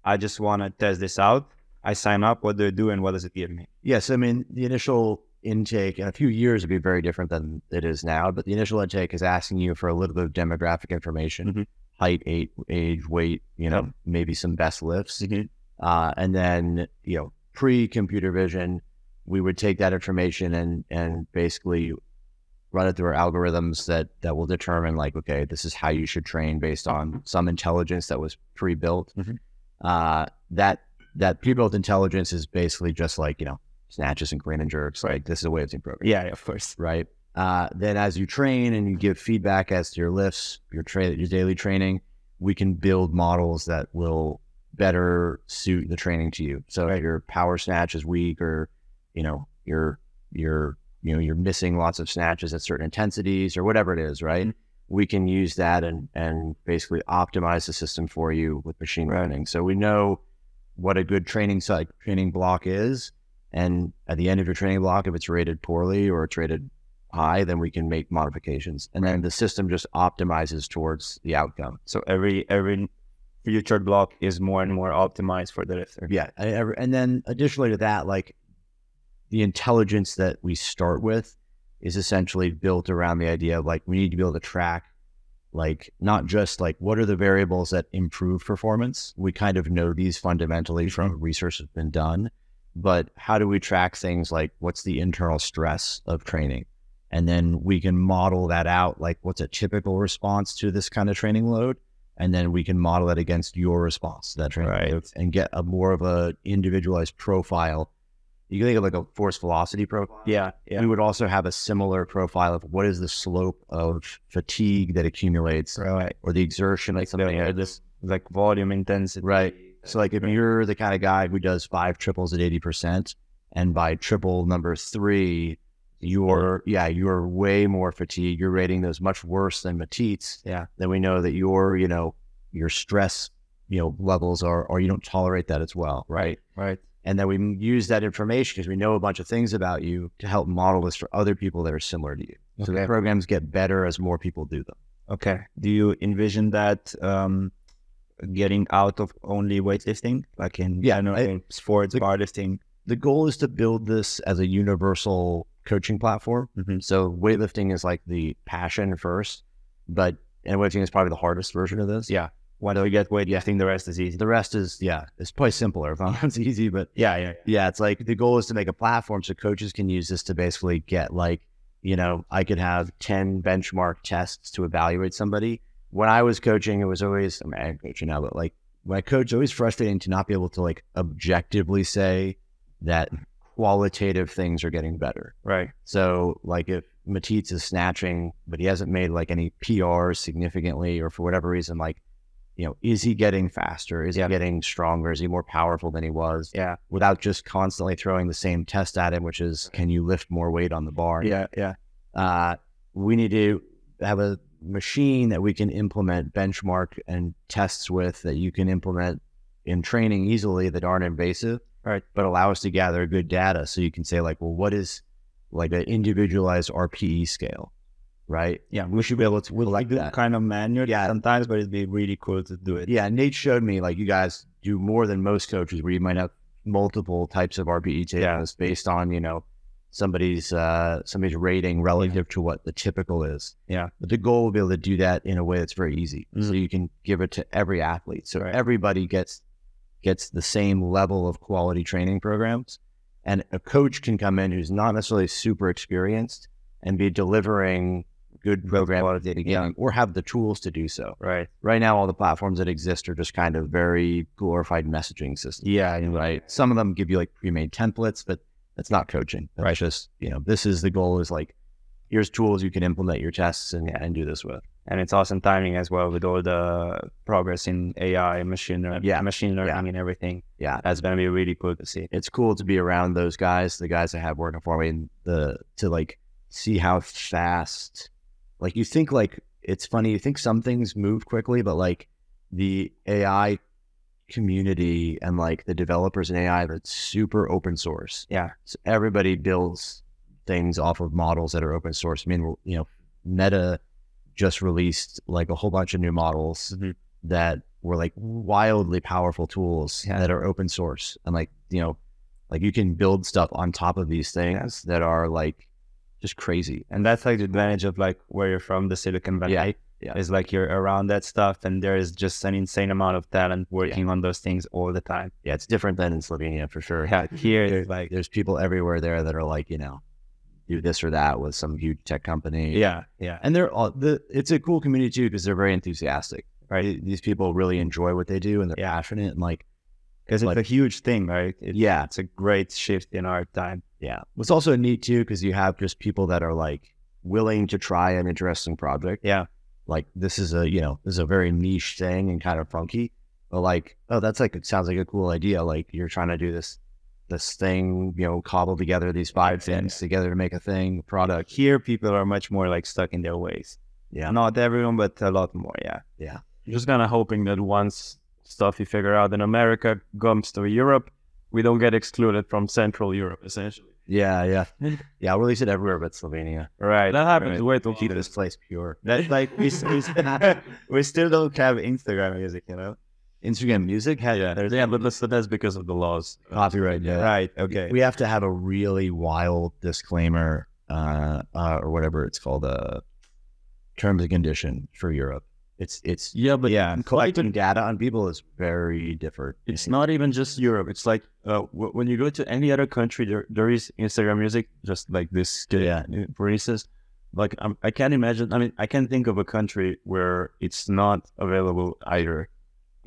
Speaker 1: i just want to test this out i sign up what do I do and what does it give me
Speaker 2: Yes, I mean the initial intake in a few years would be very different than it is now. But the initial intake is asking you for a little bit of demographic information:
Speaker 1: Mhm.
Speaker 2: height, age, age, weight. You know, maybe some best lifts, uh, and then you know, pre-computer vision, we would take that information and and basically run it through our algorithms that that will determine like, okay, this is how you should train based on some intelligence that was pre-built.
Speaker 1: Mhm.
Speaker 2: Uh, that that pre-built intelligence is basically just like you know snatches and clean and jerks. Like this is a way of doing program
Speaker 1: yeah of course
Speaker 2: right? Uh, then as you train and you give feedback as to your lifts, your tra- your daily training, we can build models that will better suit the training to you. So if your power snatch is weak, or you know you're you're you know you're missing lots of snatches at certain intensities or whatever it is, right? We can use that and and basically optimize the system for you with machine learning. So we know what a good training site training block is, and at the end of your training block, if it's rated poorly or it's rated high, then we can make modifications. And then the system just optimizes towards the outcome.
Speaker 1: so every every future block is more and more optimized for the lifter
Speaker 2: Yeah. I- I- And then additionally to that, like the intelligence that we start with is essentially built around the idea of like we need to be able to track like not just like what are the variables that improve performance we kind of know these fundamentally from research that's been done but how do we track things like what's the internal stress of training and then we can model that out like what's a typical response to this kind of training load and then we can model it against your response to that training
Speaker 1: Right.
Speaker 2: load and get a more of a individualized profile you can think of like a force velocity profile
Speaker 1: yeah yeah
Speaker 2: we would also have a similar profile of what is the slope of fatigue that accumulates
Speaker 1: right
Speaker 2: or the exertion like something
Speaker 1: the- uh,
Speaker 2: like this
Speaker 1: like volume intensity
Speaker 2: right so like if you're the kind of guy who does five triples at 80% and by triple number three you're yeah you're way more fatigued you're rating those much worse than Matisse
Speaker 1: Yeah.
Speaker 2: then we know that your you know your stress you know levels are or you don't tolerate that as well right
Speaker 1: right
Speaker 2: and then we m- use that information because we know a bunch of things about you to help model this for other people that are similar to you. So the
Speaker 1: Okay.
Speaker 2: programs get better as more people do them.
Speaker 1: Okay. Do you envision that um, getting out of only weightlifting, like in
Speaker 2: Yeah,
Speaker 1: I know,
Speaker 2: I-
Speaker 1: in sports,
Speaker 2: the-
Speaker 1: powerlifting?
Speaker 2: The goal is to build this as a universal coaching platform.
Speaker 1: Mhm.
Speaker 2: So weightlifting is like the passion first, but and weightlifting is probably the hardest version of this.
Speaker 1: Yeah. Why do you get weightlifting? The rest is easy.
Speaker 2: The rest is yeah, it's probably simpler. It's easy, but
Speaker 1: Yeah, yeah,
Speaker 2: yeah, it's like the goal is to make a platform so coaches can use this to basically get like, you know, I could have 10 benchmark tests to evaluate somebody. When I was coaching, it was always, I'm mean, coaching now, but like when I coach, it's always frustrating to not be able to like objectively say that qualitative things are getting better.
Speaker 1: right.
Speaker 2: So like if Matisse is snatching, but he hasn't made like any PRs significantly or for whatever reason, like, you know, is he getting faster? Is
Speaker 1: Yeah.
Speaker 2: he getting stronger? Is he more powerful than he was?
Speaker 1: Yeah.
Speaker 2: Without just constantly throwing the same test at him, which is can you lift more weight on the bar?
Speaker 1: Yeah, yeah,
Speaker 2: Uh, we need to have a machine that we can implement benchmark and tests with that you can implement in training easily that aren't invasive,
Speaker 1: Right.
Speaker 2: but allow us to gather good data so you can say like, well, what is like an individualized RPE scale, right?
Speaker 1: yeah.
Speaker 2: We should be able to
Speaker 1: We
Speaker 2: like
Speaker 1: do
Speaker 2: that.
Speaker 1: kind of manual
Speaker 2: Yeah.
Speaker 1: sometimes, but it'd be really cool to do it.
Speaker 2: Yeah, Nate showed me like you guys do more than most coaches, where you might have multiple types of RPE tables based on you know somebody's uh somebody's rating relative to what the typical is.
Speaker 1: Yeah.
Speaker 2: but the goal will be able to do that in a way that's very easy, so
Speaker 1: Mhm.
Speaker 2: you can give it to every athlete, so
Speaker 1: Right.
Speaker 2: everybody gets gets the same level of quality training programs, and a coach can come in who's not necessarily super experienced and be delivering good program quality yeah. or have the tools to do so
Speaker 1: Mm-hmm. Right.
Speaker 2: right now all the platforms that exist are just kind of very glorified messaging systems.
Speaker 1: Yeah.
Speaker 2: Right. Some of them give you like pre-made templates, but That's not coaching. That's
Speaker 3: Right.
Speaker 2: just, you know, this is the goal is like, here's tools you can implement your tests and, and do this with.
Speaker 1: and it's awesome timing as well with all the progress in AI, machine learning,
Speaker 2: Yeah.
Speaker 1: machine learning,
Speaker 2: Yeah.
Speaker 1: and everything.
Speaker 2: Yeah.
Speaker 1: That's gonna be really cool to see.
Speaker 2: It's cool to be around those guys, the guys that have working for me and the, to like see how fast, like you think like, it's funny. You think some things move quickly, but like the AI community and like the developers in AI that's super open source.
Speaker 1: Yeah.
Speaker 2: So everybody builds things off of models that are open source. I mean, you know, Meta just released like a whole bunch of new models
Speaker 1: Mhm.
Speaker 2: that were like wildly powerful tools
Speaker 1: Yeah.
Speaker 2: that are open source. And like, you know, like you can build stuff on top of these things that are like just crazy.
Speaker 1: And that's like the advantage of like where you're from, the Silicon Valley.
Speaker 2: Yeah. Yeah.
Speaker 1: Is like you're around that stuff, and there is just an insane amount of talent working on those things all the time.
Speaker 2: Yeah. It's different than in Slovenia for sure.
Speaker 1: Yeah, here it's like
Speaker 2: there's people everywhere there that are like, you know, do this or that with some huge tech company.
Speaker 1: yeah, yeah,
Speaker 2: And they're all the it's a cool community too because they're very enthusiastic.
Speaker 1: Right.
Speaker 2: Th- These people really enjoy what they do and they're
Speaker 1: Yeah.
Speaker 2: passionate and like
Speaker 1: because it's
Speaker 2: Like-
Speaker 1: a huge thing, right? It,
Speaker 2: yeah.
Speaker 1: it's a great shift in our time.
Speaker 2: Yeah. What's also neat too because you have just people that are like willing to try an interesting project.
Speaker 1: Yeah.
Speaker 2: Like this is a, you know, this is a very niche thing and kind of funky. But like, oh, that's like it sounds like a cool idea. Like you're trying to do this this thing, you know, cobble together these
Speaker 1: Yeah.
Speaker 2: five things together to make a thing, product.
Speaker 1: Here, people are much more like stuck in their ways.
Speaker 2: Yeah.
Speaker 1: not everyone, but a lot more. Yeah,
Speaker 4: I'm just kind of hoping that once stuff you figure out in America comes to Europe, we don't get excluded from Central Europe, essentially.
Speaker 2: Yeah, yeah, yeah. I'll release it everywhere but Slovenia.
Speaker 1: right.
Speaker 4: That happens way too
Speaker 2: Keep
Speaker 4: often.
Speaker 2: this place pure.
Speaker 1: That's like we, s- we, s- we still don't have Instagram music, you know?
Speaker 2: Instagram music, had
Speaker 4: Yeah, yeah, but that's, that's because of the laws.
Speaker 2: copyright. Yeah,
Speaker 1: Right. Okay.
Speaker 2: we have to have a really wild disclaimer, uh, uh, or whatever it's called, uh, terms and condition for Europe. It's it's
Speaker 4: Yeah, but
Speaker 1: yeah.
Speaker 2: collecting data on people is very different.
Speaker 4: It's not even just Europe. It's like uh, w- when you go to any other country, there, there is Instagram music, just like this. kid,
Speaker 2: Yeah.
Speaker 4: uh, For instance, like I'm, I can't imagine. I mean, I can't think of a country where it's not available either. Hmm.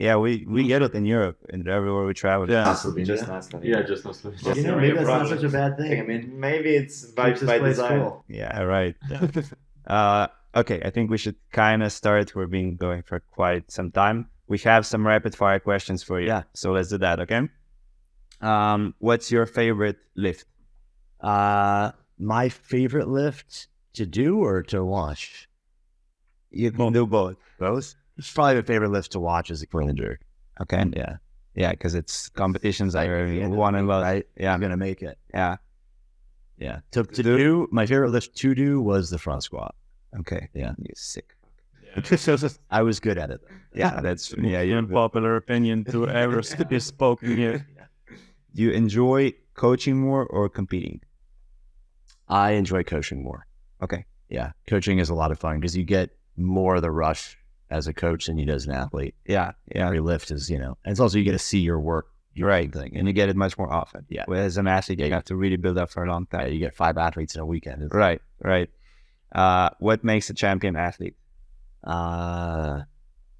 Speaker 1: Yeah, we, we get it in Europe and everywhere we travel.
Speaker 4: Yeah.
Speaker 1: Absolutely.
Speaker 2: Just
Speaker 1: not
Speaker 4: just not.
Speaker 2: a bad thing. I mean,
Speaker 1: maybe it's by,
Speaker 2: Keeps this by place design. cool.
Speaker 1: Yeah, right. uh, okay, I think we should kind of start. We've been going for quite some time. We have some rapid fire questions for you.
Speaker 2: Yeah.
Speaker 1: So let's do that, okay? Um, what's your favorite lift?
Speaker 2: uh, my favorite lift to do or to watch.
Speaker 1: You can do both.
Speaker 2: Both. It's probably my favorite lift to watch is the Queen Jerk.
Speaker 1: Okay.
Speaker 2: Yeah.
Speaker 1: Yeah, because it's competitions I really
Speaker 2: Yeah.
Speaker 1: want to love.
Speaker 2: Right.
Speaker 1: Yeah.
Speaker 2: I'm gonna make it.
Speaker 1: Yeah.
Speaker 2: Yeah. To, to do my favorite lift to do was the front squat.
Speaker 1: Okay.
Speaker 2: Yeah.
Speaker 1: You sick.
Speaker 2: I was good at it.
Speaker 1: Yeah, that's yeah.
Speaker 4: yeah,
Speaker 1: You
Speaker 4: unpopular opinion to ever is spoken here.
Speaker 1: do you enjoy coaching more or competing?
Speaker 2: I enjoy coaching more.
Speaker 1: Okay.
Speaker 2: Yeah. Coaching is a lot of fun because you get more of the rush as a coach than you do as an athlete.
Speaker 1: Yeah, yeah.
Speaker 2: Every lift is, you know, and it's also you get to see your work. Your
Speaker 1: Right.
Speaker 2: Thing.
Speaker 1: And
Speaker 2: And
Speaker 1: you get it much more often.
Speaker 2: Yeah.
Speaker 1: Whereas an athlete, you have to really build up for a long
Speaker 2: uh,
Speaker 1: time.
Speaker 2: you get five athletes in a weekend. It's-
Speaker 1: Right, right. Uh, what makes a champion athlete?
Speaker 2: Uh,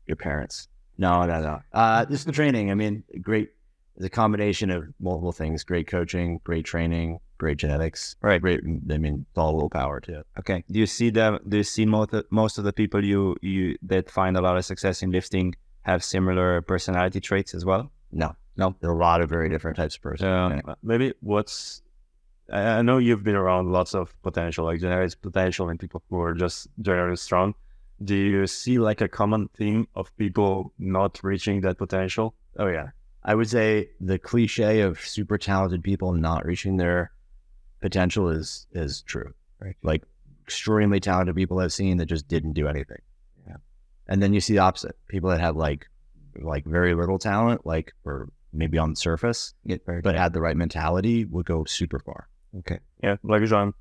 Speaker 1: Your parents.
Speaker 2: no, no, no. Uh, just the training. I mean, great. The combination of multiple things: great coaching, great training, great genetics.
Speaker 1: Right.
Speaker 2: Great. I mean, it's all willpower too.
Speaker 1: Okay. Do you see them? Do you see most most of the people you you that find a lot of success in lifting have similar personality traits as well?
Speaker 2: No,
Speaker 1: No.
Speaker 2: There are a lot of very different types of persons.
Speaker 4: Um, Maybe what's I I know you've been around lots of potential, like generates potential and people who are just generally strong. Do you see like a common theme of people not reaching that potential? Oh yeah,
Speaker 2: I would say the cliche of super talented people not reaching their potential is is true.
Speaker 1: Right.
Speaker 2: Like extremely talented people I've seen that just didn't do anything. Yeah. And then you see the opposite. People that have like like very little talent, like or maybe on the surface,
Speaker 1: Get very
Speaker 2: but had the right mentality would go super far.
Speaker 1: okay.
Speaker 4: yeah, like Jean,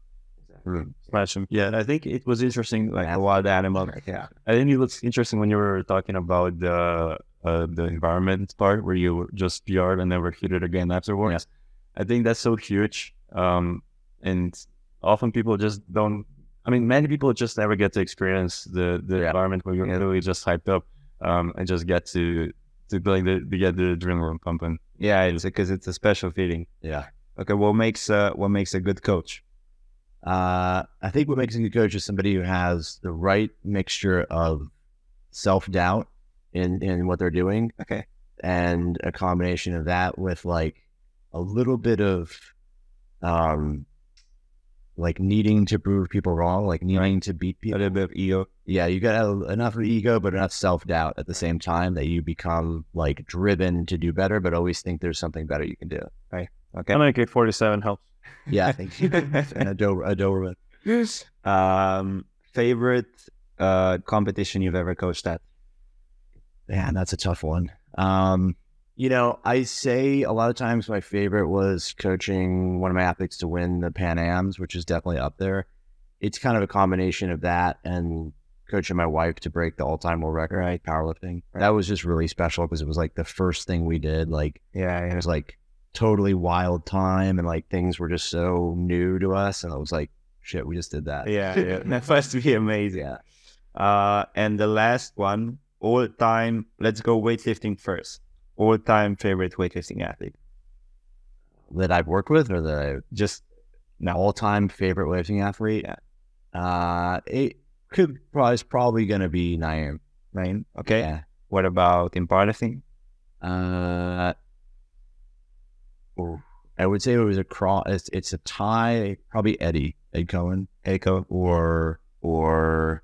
Speaker 4: smash him. Yeah, I think it was interesting. Like
Speaker 1: Like a wild animal. Yeah.
Speaker 4: I think it was interesting when you were talking about the uh, the environment part where you just PR'd and never hit it again afterwards. I think that's so huge. Um, and often people just don't. I mean, many people just never get to experience the the
Speaker 2: Yeah.
Speaker 4: environment where you're
Speaker 1: Yeah.
Speaker 4: literally just hyped up um, and just get to to like the, to get the adrenaline pumping.
Speaker 1: Yeah. It's because it's a special feeling.
Speaker 2: Yeah.
Speaker 1: Okay, what makes uh, what makes a good coach?
Speaker 2: Uh, I think what makes a good coach is somebody who has the right mixture of self doubt in in what they're doing.
Speaker 1: Okay.
Speaker 2: and a combination of that with like a little bit of, um, like needing to prove people wrong, like needing to beat
Speaker 1: A
Speaker 2: people.
Speaker 1: little bit of ego.
Speaker 2: Yeah, you got to have enough ego, but enough self doubt at the same time that you become like driven to do better, but always think there's something better you can do.
Speaker 1: Okay.
Speaker 4: An AK forty seven helps.
Speaker 2: Yeah, I think and a, Dober, a Doberman.
Speaker 1: um, favorite uh, competition you've ever coached at?
Speaker 2: Man, that's a tough one. Um, you know, I say a lot of times my favorite was coaching one of my athletes to win the Pan Ams, which is definitely up there. It's kind of a combination of that and coaching my wife to break the all-time world record right. powerlifting. That was just really special because it was like the first thing we did. Like
Speaker 1: Yeah,
Speaker 2: it was like totally wild time, and like things were just so new to us, and it was like, shit, we just did that.
Speaker 1: yeah, yeah. That must be amazing.
Speaker 2: Yeah.
Speaker 1: Uh, and the last one, all time. Let's go weightlifting first. All time favorite weightlifting athlete.
Speaker 2: that I've worked with or that I just my all time favorite weightlifting athlete? Uh, it could probably is probably gonna be Naim.
Speaker 1: Naim. Okay.
Speaker 2: Yeah.
Speaker 1: What about in powerlifting?
Speaker 2: Uh, or I would say it was a cross. It's, it's a tie. Probably Eddie Ed Cohen
Speaker 1: Eiko.
Speaker 2: or or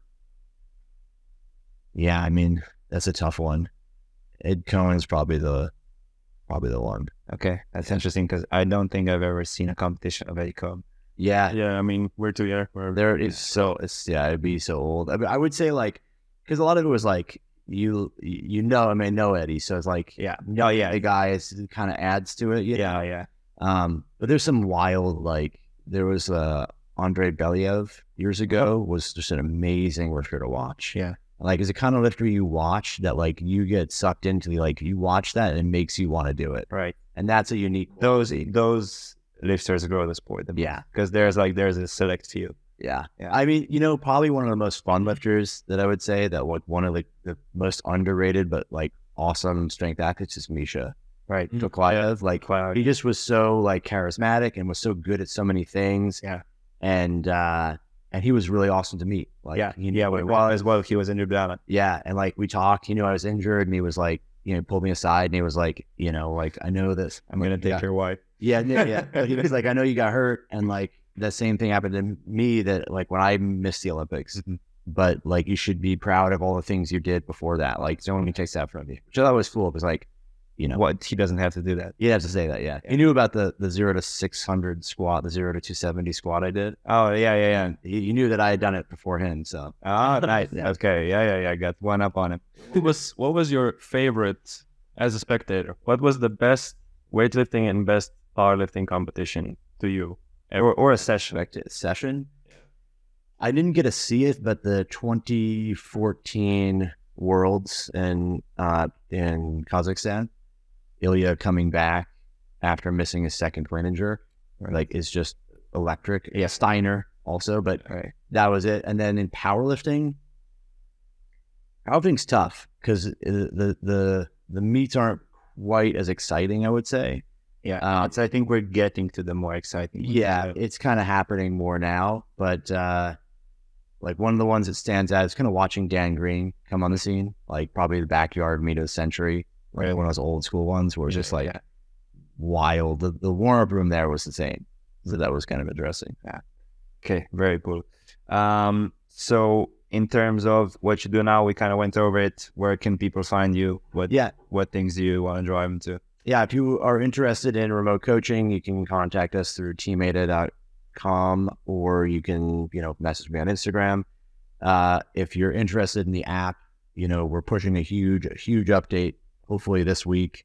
Speaker 2: yeah. I mean that's a tough one. Ed Cohen's probably the probably the one.
Speaker 1: Okay, that's interesting because I don't think I've ever seen a competition of Eiko.
Speaker 2: Yeah,
Speaker 4: Yeah, I mean we're two here. We're
Speaker 2: There it's so it's yeah, it'd be so old. I, mean, I would say like because a lot of it was like you you know I mean know Eddie, so it's like
Speaker 1: Yeah.
Speaker 2: no yeah the guy is kind of adds to it you
Speaker 1: Yeah, yeah.
Speaker 2: know? Um, but there's some wild like there was uh Andre Believ years ago was just an amazing lifter to watch.
Speaker 1: Yeah.
Speaker 2: Like is a kind of lifter you watch that like you get sucked into like you watch that and it makes you want to do it
Speaker 1: Right.
Speaker 2: and that's a unique
Speaker 1: Those those lifters grow the sport.
Speaker 2: yeah
Speaker 1: Because there's like there's a select few.
Speaker 2: Yeah.
Speaker 1: Yeah.
Speaker 2: I mean, you know, probably one of the most fun lifters that I would say that like one of like the most underrated but like awesome strength athletes is Misha.
Speaker 1: Right.
Speaker 2: Toklayev. Like he just was so like charismatic and was so good at so many things.
Speaker 1: Yeah.
Speaker 2: And uh and he was really awesome to meet. Like
Speaker 1: yeah.
Speaker 2: he
Speaker 1: yeah.
Speaker 2: knew-
Speaker 1: Well, as well, he was in Ljubljana.
Speaker 2: yeah. And like we talked, he knew I was injured and he was like, you know, he pulled me aside and he was like, you know, like I know this.
Speaker 1: I'm gonna take
Speaker 2: yeah.
Speaker 1: your wife.
Speaker 2: Yeah, yeah, yeah. But he was like, I know you got hurt, and like that same thing happened to me. That like when I missed the Olympics,
Speaker 1: Mhm.
Speaker 2: but like you should be proud of all the things you did before that. Like no one can take that from you, which I thought was cool because like you know
Speaker 1: What he doesn't have to do that.
Speaker 2: you have to say that. Yeah, he knew about the the zero to six hundred squat, the zero to two seventy squat I did.
Speaker 1: Oh yeah, yeah, yeah.
Speaker 2: He, he knew that I had done it before him. So
Speaker 1: Ah, nice.
Speaker 2: Yeah.
Speaker 1: Okay. Yeah, yeah, yeah. I got one up on him.
Speaker 4: what was what was your favorite as a spectator? What was the best weightlifting and best powerlifting competition to you?
Speaker 1: Or, or a session.
Speaker 2: back to session. I didn't get to see it, but the 2014 Worlds in uh, in Kazakhstan, Ilya coming back after missing his second win injure, like is just electric. Yeah, Steiner also, but
Speaker 1: Right.
Speaker 2: that was it. And then in powerlifting, powerlifting's tough because the the the meets aren't quite as exciting. I would say.
Speaker 1: Yeah.
Speaker 2: Uh,
Speaker 1: It's- I think we're getting to the more exciting. ones.
Speaker 2: Yeah, it's kind of happening more now, but uh, like one of the ones that stands out is kind of watching Dan Green come on the scene, like probably the backyard meet of the century, like
Speaker 1: Right.
Speaker 2: one of those old school ones where it was just like
Speaker 1: Yeah.
Speaker 2: wild. The, the warm up room there was insane, so that was kind of interesting.
Speaker 1: Okay, very cool. Um, so in terms of what you do now, we kind of went over it. Where can people find you? What
Speaker 2: Yeah,
Speaker 1: what things do you want to drive them to?
Speaker 2: yeah, if you are interested in remote coaching, you can contact us through teammate.com or you can, you know, message me on Instagram. Uh, if you're interested in the app, you know, we're pushing a huge, a huge update, hopefully this week.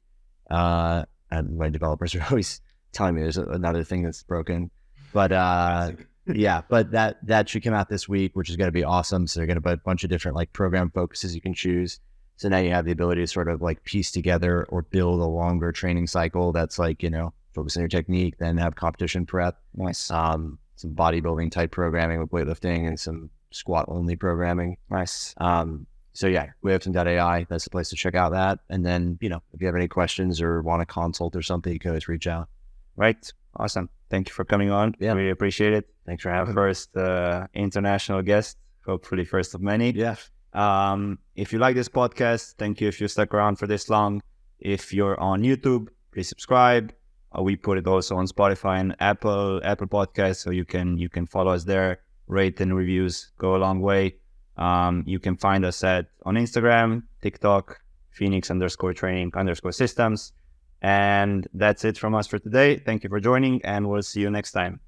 Speaker 2: Uh, and my developers are always telling me there's another thing that's broken, but, uh, yeah, but that, that should come out this week, which is going to be awesome. So they're going to put a bunch of different like program focuses you can choose. So now you have the ability to sort of like piece together or build a longer training cycle that's like, you know, focus on your technique, then have competition prep,
Speaker 1: Nice,
Speaker 2: um, some bodybuilding type programming with weightlifting and some squat only programming.
Speaker 1: nice.
Speaker 2: Um, so yeah, weightlifting.ai, that's the place to check out that. And then, you know, if you have any questions or want to consult or something, you can always reach out.
Speaker 1: Right. Awesome. Thank you for coming on.
Speaker 2: Yeah.
Speaker 1: We appreciate it.
Speaker 2: Thanks for
Speaker 1: Our
Speaker 2: having me.
Speaker 1: first uh, international guest, hopefully first of many.
Speaker 2: Yeah.
Speaker 1: Um, if you like this podcast, thank you if you stuck around for this long. If you're on YouTube, please subscribe. Uh, we put it also on Spotify and Apple Apple Podcasts, so you can you can follow us there. Rate and reviews go a long way. Um, you can find us at on Instagram, TikTok, Phoenix underscore training underscore systems. And that's it from us for today. Thank you for joining, and we'll see you next time.